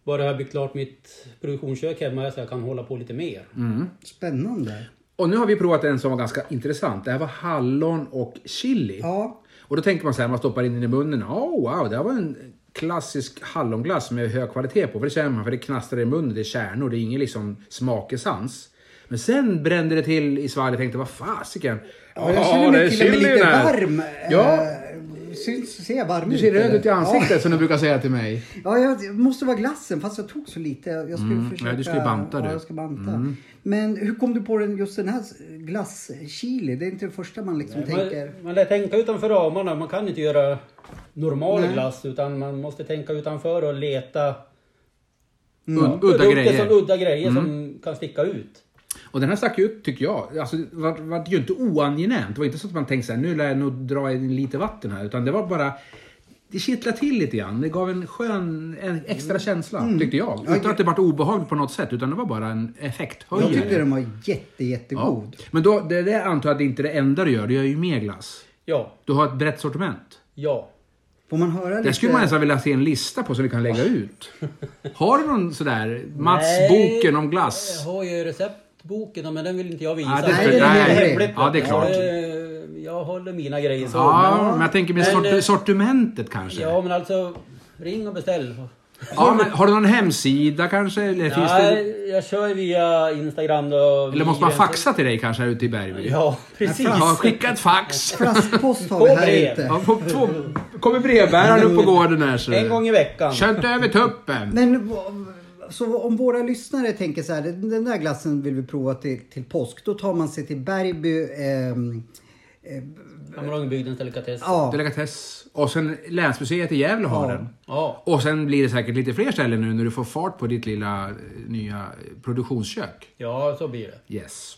Speaker 3: Bara jag har byggt klart mitt produktionskök hemma så jag kan hålla på lite mer.
Speaker 1: Mm.
Speaker 2: Spännande.
Speaker 1: Och nu har vi provat en som var ganska intressant. Det här var hallon och chili.
Speaker 2: Ja,
Speaker 1: Och då tänker man så här, man stoppar in den i munnen. Oh, wow, det här var en klassisk hallonglass med hög kvalitet på. För det känner man, för det knastrar i munnen, det är kärnor, det är ingen liksom smakessans. Men sen brände det till i svalget och tänkte, vad fasiken.
Speaker 2: ja
Speaker 1: Ja,
Speaker 2: jag känner
Speaker 1: det är
Speaker 2: mig till och med
Speaker 1: chili i
Speaker 2: lite
Speaker 1: den här.
Speaker 2: varm.
Speaker 1: Ja.
Speaker 2: Eh, Syns, ser jag varm
Speaker 1: Du ser
Speaker 2: ut,
Speaker 1: röd
Speaker 2: eller?
Speaker 1: ut i ansiktet som du brukar säga till mig.
Speaker 2: Ja, ja jag, det måste vara glassen fast jag tog så lite. Jag skulle försöka,
Speaker 1: Mm. nej, du ska ju banta, du.
Speaker 2: ja,
Speaker 1: Mm.
Speaker 2: jag ska banta. Men hur kom du på den, just den här glass-chili? Det är inte det första man liksom tänker.
Speaker 3: Man, man lär tänka utanför ramarna. Man kan inte göra normal glass utan man måste tänka utanför och leta
Speaker 2: Mm.
Speaker 1: Ud- Udda
Speaker 3: produkter
Speaker 1: grejer. Mm.
Speaker 3: Som, udda grejer som kan sticka ut.
Speaker 1: Och den här stack ut, tycker jag. Alltså, det var, var ju inte oangenämt. Det var inte så att man tänkte så här, nu lär jag nog dra in lite vatten här. Utan det var bara, det kittlade till lite grann. Det gav en skön, en extra känsla, tyckte jag. Utan att det vart obehagligt på något sätt, utan det var bara en effekthöjare.
Speaker 2: Jag tyckte den var jätte, jättegod.
Speaker 1: Ja. Men då, det, det antar jag att det inte är det enda du gör. Du gör ju mer glass.
Speaker 3: Ja,
Speaker 1: Du har ett brett sortiment.
Speaker 3: ja.
Speaker 2: Får man höra lite?
Speaker 1: Det skulle man nästan vilja se en lista på som vi kan lägga ut. Har du någon sådär, Mats-boken om glass?
Speaker 3: Jag har ju receptboken men den vill inte jag visa.
Speaker 1: Ja, det
Speaker 2: ska- Nej, det är nej. hemligt.
Speaker 1: Ja, det är klart.
Speaker 3: Jag, jag håller mina grejer så.
Speaker 1: Ja, men jag tänker med
Speaker 3: Men, eh,
Speaker 1: sort, sortimentet kanske.
Speaker 3: ja, men alltså ring och beställ.
Speaker 1: Ja, men har du någon hemsida kanske? Eller, finns det,
Speaker 3: Nej, jag kör ju via Instagram då.
Speaker 1: eller måste man faxa till dig kanske här ute i Bergby?
Speaker 3: Ja, precis.
Speaker 1: Ja, skicka ett fax!
Speaker 2: Flaskpost har
Speaker 3: På
Speaker 2: vi här
Speaker 3: brev.
Speaker 2: ute.
Speaker 1: Ja, på, på, kommer brevbäraren upp på gården här så.
Speaker 3: en gång i veckan.
Speaker 1: Kör inte över tuppen!
Speaker 2: Men v- så om våra lyssnare tänker så här, den den där glassen vill vi prova till, till påsk. Då tar man sig till Bergby. ehm,
Speaker 3: Hammarångbygdens delikatess.
Speaker 2: ja,
Speaker 1: Delikatess. Och sen Länsmuseet i Gävle har den.
Speaker 3: Ja.
Speaker 1: Och sen blir det säkert lite fler ställen nu när du får fart på ditt lilla eh, nya produktionskök.
Speaker 3: ja, så blir det.
Speaker 1: Yes.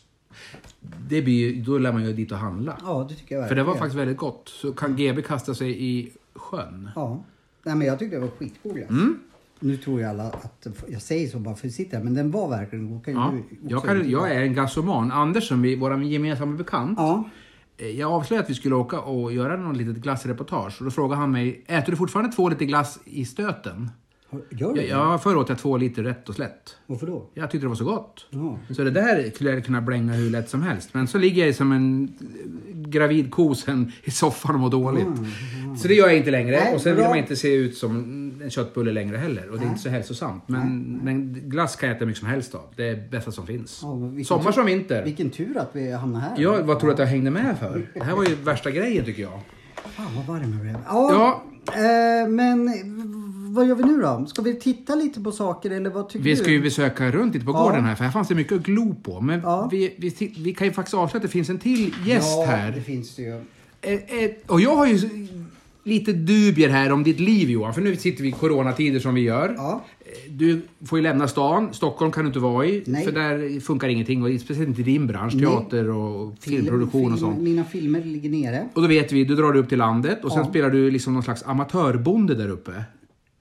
Speaker 1: Det blir, ju- då lär man ju dit och handla.
Speaker 2: ja, det tycker jag
Speaker 1: För det
Speaker 2: verkligen.
Speaker 1: var faktiskt väldigt gott. Så kan GB kasta sig i sjön?
Speaker 2: Ja. Nej, men jag tyckte det var skitgod glass.
Speaker 1: Mm.
Speaker 2: Nu tror ju alla att jag säger så bara för att sitta här, men den var verkligen god. Kan ju
Speaker 1: Ja,
Speaker 2: du
Speaker 1: jag,
Speaker 2: Mm, också
Speaker 1: kan,
Speaker 2: intyga.
Speaker 1: jag är en gassoman. Anders, som vi, vår gemensamma bekant,
Speaker 2: Ja.
Speaker 1: eh, jag avslöjade att vi skulle åka och göra någon litet glassreportage. Och då frågade han mig, äter du fortfarande två liter glass i
Speaker 2: Mm.
Speaker 1: stöten?
Speaker 2: Har- Gör du
Speaker 1: Jag,
Speaker 2: det?
Speaker 1: jag förr åt jag två liter rätt och slätt.
Speaker 2: Varför då?
Speaker 1: Jag tyckte det var så gott.
Speaker 2: Ja.
Speaker 1: Så det där skulle jag kunna blänga hur lätt som helst. Men så ligger jag som en eh, gravid ko sen i soffan och mår dåligt. Så det gör jag inte längre.
Speaker 2: Nej,
Speaker 1: och sen vill
Speaker 2: bra.
Speaker 1: man inte se ut som en köttbulle längre heller. Och det är inte så hälsosamt. Men, men glass kan jag äta mycket som helst av. Det är det bästa som finns.
Speaker 2: Ja, men vilken
Speaker 1: Sommar
Speaker 2: tur-
Speaker 1: som vinter.
Speaker 2: Vilken tur att vi hamnar här.
Speaker 1: Ja, vad tror du att jag hängde med för? Det här var ju värsta grejen tycker jag.
Speaker 2: Fan vad varm jag blev. Ja, Eh, men v- vad gör vi nu då? Ska vi titta lite på saker eller vad tycker
Speaker 1: Vi
Speaker 2: du?
Speaker 1: ska ju besöka runt lite på
Speaker 2: Mm. Ja.
Speaker 1: gården här, för här fanns det mycket att glo på. Men
Speaker 2: Ja.
Speaker 1: vi, vi, ti- vi kan ju faktiskt avslöja att det finns en till gäst
Speaker 2: ja,
Speaker 1: här.
Speaker 2: det finns det ju.
Speaker 1: Eh, eh, och jag har ju lite dubier här om ditt liv Johan, för nu sitter vi i coronatider som vi gör. Eh,
Speaker 2: Ja.
Speaker 1: Du får ju lämna stan, Stockholm kan du inte vara i,
Speaker 2: Nej.
Speaker 1: för där funkar ingenting, och speciellt inte i din bransch, teater och filmproduktion och
Speaker 2: Film-
Speaker 1: sånt.
Speaker 2: Mina filmer ligger nere.
Speaker 1: Och då vet vi, då drar du upp till landet och sen
Speaker 2: Ja.
Speaker 1: spelar du liksom någon slags amatörbonde där uppe.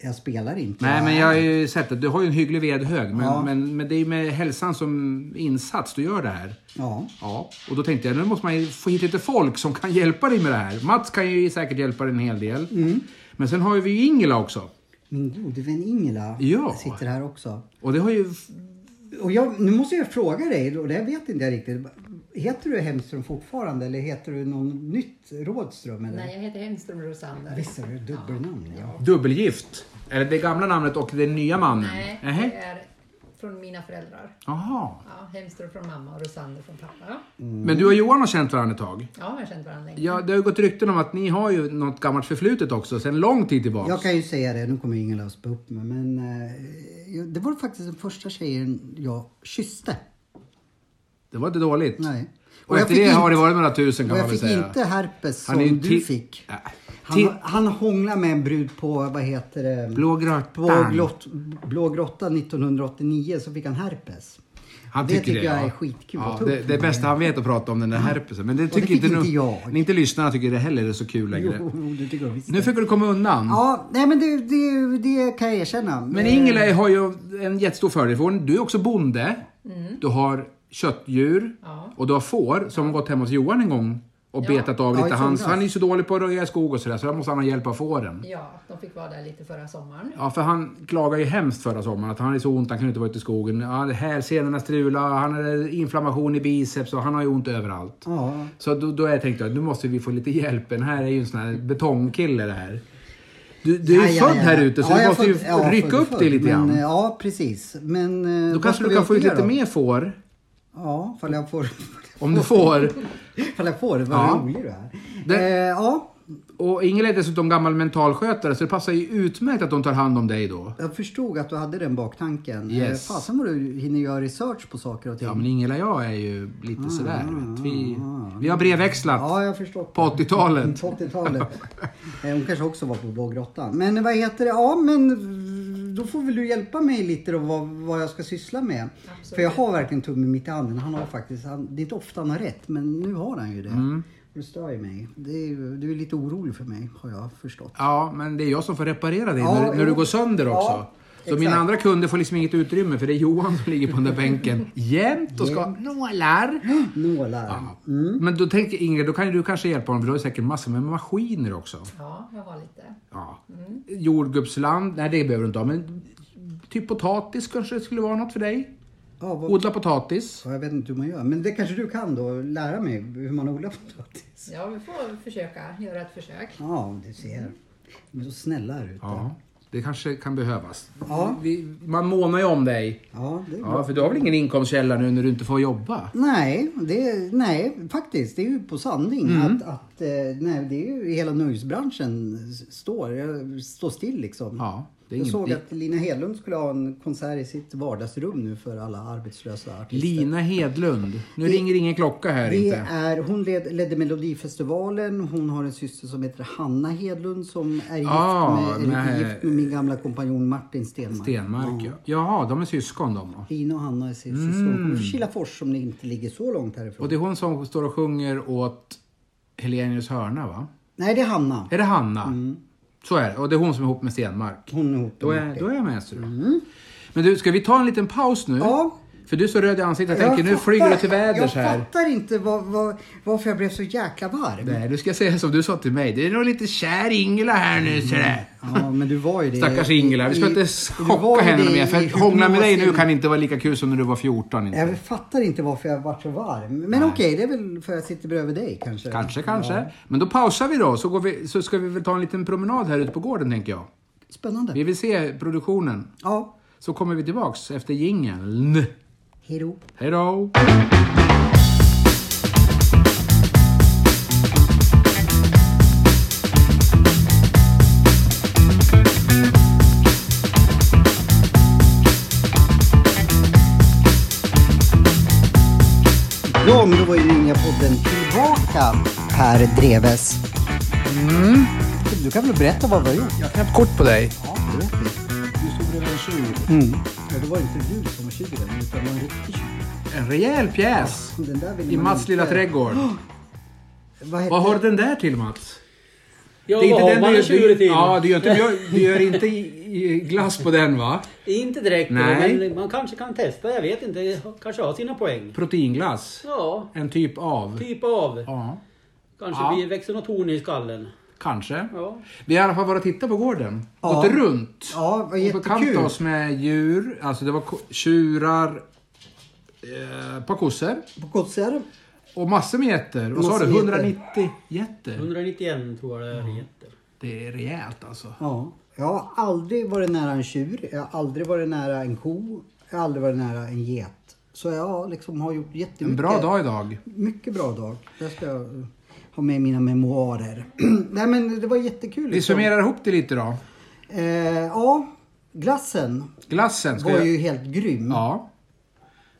Speaker 2: Jag spelar inte.
Speaker 1: Nej, men jag har ju sett att du har ju en hygglig vedhög, men,
Speaker 2: Ja.
Speaker 1: men, men det är ju med hälsan som insats du gör det här.
Speaker 2: Ja.
Speaker 1: Ja, och då tänkte jag nu måste man ju få hit lite folk som kan hjälpa dig med det här. Mats kan ju säkert hjälpa dig en hel del.
Speaker 2: Mm.
Speaker 1: Men sen har ju vi ju Ingela också.
Speaker 2: Min gode vän Ingela
Speaker 1: Ja.
Speaker 2: sitter här också.
Speaker 1: Och det har ju...
Speaker 2: Och jag, nu måste jag fråga dig, och det här vet inte jag riktigt. Heter du Hemström fortfarande eller heter du någon nytt Rådström? Eller?
Speaker 4: Nej, jag heter Hemström Rosander.
Speaker 2: Visst har du dubbelnamn? Ja.
Speaker 1: Dubbelgift. Eller det gamla namnet och den nya mannen.
Speaker 4: Nej,
Speaker 1: Nähä.
Speaker 4: det är från mina föräldrar.
Speaker 1: Jaha.
Speaker 4: Ja, Hemström från mamma och Rosander från pappa.
Speaker 2: Mm.
Speaker 1: Men du och Johan har känt varandra ett tag?
Speaker 4: Ja, vi har känt varandra länge.
Speaker 1: Ja, det har ju gått rykten om att ni har ju något gammalt förflutet också, sedan lång tid tillbaka.
Speaker 2: Jag kan ju säga det, nu kommer Ingela att spå upp mig, men eh, jag- det var faktiskt den första tjejen jag kysste.
Speaker 1: Det var inte dåligt.
Speaker 2: Nej.
Speaker 1: Och, efter det
Speaker 2: fick
Speaker 1: har det
Speaker 2: inte-
Speaker 1: varit några tusen kan
Speaker 2: Och
Speaker 1: man
Speaker 2: jag
Speaker 1: väl
Speaker 2: fick
Speaker 1: säga.
Speaker 2: inte herpes
Speaker 1: Han är
Speaker 2: som
Speaker 1: ju
Speaker 2: du
Speaker 1: ti- Äh.
Speaker 2: fick.
Speaker 1: Ja.
Speaker 2: Han,
Speaker 1: Ti-
Speaker 2: han hånglade med en brud på, vad heter det?
Speaker 1: Blå grottan.
Speaker 2: Blå, glott, blå grotta 1989 så fick han herpes.
Speaker 1: Han
Speaker 2: det
Speaker 1: tycker
Speaker 2: tycker jag
Speaker 1: ja.
Speaker 2: är skitkul
Speaker 1: ja,
Speaker 2: att ta upp.
Speaker 1: det, det bästa han vet att prata om den där herpesen. Men det tycker
Speaker 2: fick
Speaker 1: inte,
Speaker 2: inte
Speaker 1: nu-
Speaker 2: jag.
Speaker 1: men Inte lyssnarna tycker det heller är så kul längre.
Speaker 2: Jo, det tycker jag visst.
Speaker 1: Nu fick du komma undan.
Speaker 2: Ja, nej men det, det, det kan jag erkänna.
Speaker 1: Mm. Men Ingela har ju en jättestor fördel. för hon- Du är också bonde.
Speaker 2: Mm.
Speaker 1: Du har köttdjur
Speaker 4: Ja.
Speaker 1: och du har får som har gått hemma hos Johan en gång och
Speaker 4: Ja.
Speaker 1: betat av
Speaker 2: Ja,
Speaker 1: lite
Speaker 2: i
Speaker 1: hans.
Speaker 2: somras.
Speaker 1: Han är ju så dålig på att röja i skog och sådär så där måste han ha hjälp av fåren.
Speaker 4: Ja, de fick vara där lite förra sommaren.
Speaker 1: Ja, för han klagade ju hemskt förra sommaren att han är så ont, han kunde inte vara ute i skogen. Ja, det här senorna strular, han har inflammation i biceps och han har ju ont överallt.
Speaker 2: Ja.
Speaker 1: Så då, då jag tänkte jag nu måste vi få lite hjälp. Den här är ju en sån här betongkille det här. Du, du är ju född här ute så
Speaker 2: Ja,
Speaker 1: du
Speaker 2: jag
Speaker 1: måste
Speaker 2: född-
Speaker 1: ju
Speaker 2: ja,
Speaker 1: rycka
Speaker 2: född-
Speaker 1: upp dig lite
Speaker 2: men,
Speaker 1: grann.
Speaker 2: eh, Ja, precis. Men... eh,
Speaker 1: Då
Speaker 2: vad
Speaker 1: kanske
Speaker 2: ska
Speaker 1: du
Speaker 2: vi
Speaker 1: kan
Speaker 2: ha
Speaker 1: få ut
Speaker 2: fler
Speaker 1: lite
Speaker 2: då?
Speaker 1: mer får.
Speaker 2: Ja, ifall jag får...
Speaker 1: Om du får.
Speaker 2: Ifall jag får. Vad
Speaker 1: Ja.
Speaker 2: rolig du är.
Speaker 1: Det-
Speaker 2: Eh, ja,
Speaker 1: Och Ingela är dessutom gammal mentalskötare så det passar ju utmärkt att de tar hand om dig då.
Speaker 2: jag förstod att du hade den baktanken.
Speaker 1: Yes.
Speaker 2: Eh, Fasen vad du hinner göra research på saker och ting.
Speaker 1: Ja men Ingela och jag är ju lite sådär. Vet. Vi, vi har brevväxlat
Speaker 2: Ah, Ja, jag har förstått.
Speaker 1: på 80-talet.
Speaker 2: På 80-talet. Eh, Hon kanske också var på Blå grottan. Men vad heter det? Ja, men då får väl du hjälpa mig lite då vad, vad jag ska syssla med.
Speaker 4: Absolut.
Speaker 2: För jag har verkligen tummen mitt i handen. Han har faktiskt, han, det är inte ofta han har rätt, men nu har han ju det.
Speaker 1: Mm.
Speaker 2: Och det stör ju mig. Det är, ju- du är lite orolig för mig, har jag förstått.
Speaker 1: Ja, men det är jag som får reparera dig
Speaker 2: Ja,
Speaker 1: när, när
Speaker 2: jo.
Speaker 1: du går sönder också.
Speaker 2: Ja,
Speaker 1: så
Speaker 2: exakt.
Speaker 1: mina andra kunder får liksom inget utrymme för det är Johan som ligger på den där bänken jämt och ska ha nålar.
Speaker 2: Nålar.
Speaker 1: Ja.
Speaker 2: Mm.
Speaker 1: Men då tänker Ingrid, då kan ju du kanske hjälpa honom för du har ju säkert massor med maskiner också.
Speaker 4: Ja, jag har lite.
Speaker 1: Ja. Jordgubbsland, nej det behöver du inte ha men typ potatis kanske skulle vara något för dig?
Speaker 2: Ja, vad,
Speaker 1: Odla potatis.
Speaker 2: ja, jag vet inte hur man gör, men det kanske du kan då? Lära mig hur man odlar potatis?
Speaker 4: Ja, vi får försöka göra ett försök.
Speaker 2: Ja, du ser. Men så snälla här ute.
Speaker 1: Ja, det kanske kan behövas.
Speaker 2: Ja.
Speaker 1: Vi, man månar ju om dig.
Speaker 2: Ja, det är bra.
Speaker 1: Ja, för du har väl ingen inkomstkälla nu när du inte får jobba?
Speaker 2: Nej, det, nej, faktiskt. Det är ju på sanning
Speaker 1: Mm.
Speaker 2: att, att eh, nej, det är ju hela nöjesbranschen s- står, eh, står still liksom.
Speaker 1: Ja, det är
Speaker 2: Jag
Speaker 1: inget-
Speaker 2: såg att Lina Hedlund skulle ha en konsert i sitt vardagsrum nu för alla arbetslösa artister.
Speaker 1: Lina Hedlund. Nu ringer ingen klocka här
Speaker 2: det
Speaker 1: inte.
Speaker 2: är, hon led, ledde Melodifestivalen, hon har en syster som heter Hanna Hedlund som är gift,
Speaker 1: Ah,
Speaker 2: med, eller
Speaker 1: nej.
Speaker 2: gift med min gamla kompanjon Martin Stenmarck.
Speaker 1: Stenmark, ja. Jaha, de är syskon de.
Speaker 2: Lina och Hanna är sin syster. Hon kommer från Kilafors som inte ligger så långt härifrån.
Speaker 1: Mm. Och det är hon som står och sjunger åt Helenius hörna, va?
Speaker 2: Nej, det är Hanna.
Speaker 1: Är det Hanna?
Speaker 2: Mm.
Speaker 1: Så är det. Och det är hon som är ihop med Stenmark.
Speaker 2: Hon är ihop
Speaker 1: Då
Speaker 2: med
Speaker 1: är, då är jag med, ser du. Men du, ska vi ta en liten paus nu?
Speaker 2: Mm. Ja.
Speaker 1: För du är så röd i ansiktet. Jag tänker, nu
Speaker 2: fattar-
Speaker 1: flyger du till väders
Speaker 2: Jag
Speaker 1: här.
Speaker 2: fattar inte vad, vad, varför jag blev så jäkla varm.
Speaker 1: Nej, du ska säga som du sa till mig. Det är nog lite kär Ingela här nu, ser du.
Speaker 2: Ja, men du var ju Mm. det.
Speaker 1: Stackars Ingela, vi ska
Speaker 2: i-
Speaker 1: inte
Speaker 2: du var
Speaker 1: chocka
Speaker 2: ju
Speaker 1: henne
Speaker 2: det
Speaker 1: mer.
Speaker 2: i
Speaker 1: För att hångla med dig nu
Speaker 2: hypnosen.
Speaker 1: kan inte vara lika kul som när du var 14. Inte.
Speaker 2: Jag fattar inte varför jag vart så varm. Men okej, det är väl för att jag sitter bredvid dig kanske.
Speaker 1: Kanske, kanske. Men då pausar vi då, så, går vi, så ska vi väl ta en liten promenad här ute på gården, tänker jag.
Speaker 2: Spännande.
Speaker 1: Vi vill se produktionen.
Speaker 2: Ja,
Speaker 1: Så kommer vi tillbaks efter jingeln.
Speaker 2: hej då.
Speaker 1: Hej då!
Speaker 2: Ja,
Speaker 1: Mm.
Speaker 2: men då var ju Ringa-podden tillbaka, Per Dreves. Du kan väl berätta vad vi har gjort?
Speaker 1: Jag kan ha ett kort på dig.
Speaker 2: Ja, du stod bredvid en tjuv.
Speaker 1: Mm.
Speaker 2: Ja, det var inte du som var tjuven, utan det var en riktig tjuv.
Speaker 1: En rejäl pjäs
Speaker 2: Den där vill
Speaker 1: i
Speaker 2: man
Speaker 1: Mats
Speaker 2: inte-
Speaker 1: lilla trädgård.
Speaker 2: Vad hette
Speaker 1: Vad har den där till Mats?
Speaker 3: Ja, vad har man en tjure till?
Speaker 1: Ja, du gör inte, mjöl- du gör inte i- i glass på den va?
Speaker 3: Inte direkt,
Speaker 1: Nej.
Speaker 3: men man kanske kan testa. Jag vet inte. Det Kanske har sina poäng.
Speaker 1: Proteinglass.
Speaker 3: Ja,
Speaker 1: En typ av.
Speaker 3: typ av.
Speaker 1: Ja,
Speaker 3: Kanske
Speaker 1: Ja.
Speaker 3: blir växer något horn i skallen.
Speaker 1: kanske.
Speaker 3: Ja.
Speaker 1: Vi har i alla fall varit och tittat på gården.
Speaker 2: Ja.
Speaker 1: Gått runt.
Speaker 2: Ja, det var
Speaker 1: och
Speaker 2: jättekul.
Speaker 1: bekantat oss med djur. Alltså det var ko- tjurar, eh, ett par kossor
Speaker 2: På Kotsjärv.
Speaker 1: och massor med getter. Vad sa
Speaker 2: Massor
Speaker 1: du?
Speaker 2: med getter.
Speaker 1: 190 getter.
Speaker 3: 191 tror jag det är det heter.
Speaker 1: Det är rejält alltså.
Speaker 2: Ja. Jag har aldrig varit nära en tjur. Jag har aldrig varit nära en ko. Jag har aldrig varit nära en get. Så jag liksom har gjort jättemycket.
Speaker 1: En bra dag idag.
Speaker 2: Mycket bra dag. Det ska jag eh, ha med i mina memoarer. Nej men det var jättekul.
Speaker 1: Vi summerar ihop det lite då.
Speaker 2: Eh, ja, glassen
Speaker 1: Glassen. Ska
Speaker 2: var ju
Speaker 1: jag...
Speaker 2: helt grym.
Speaker 1: Ja.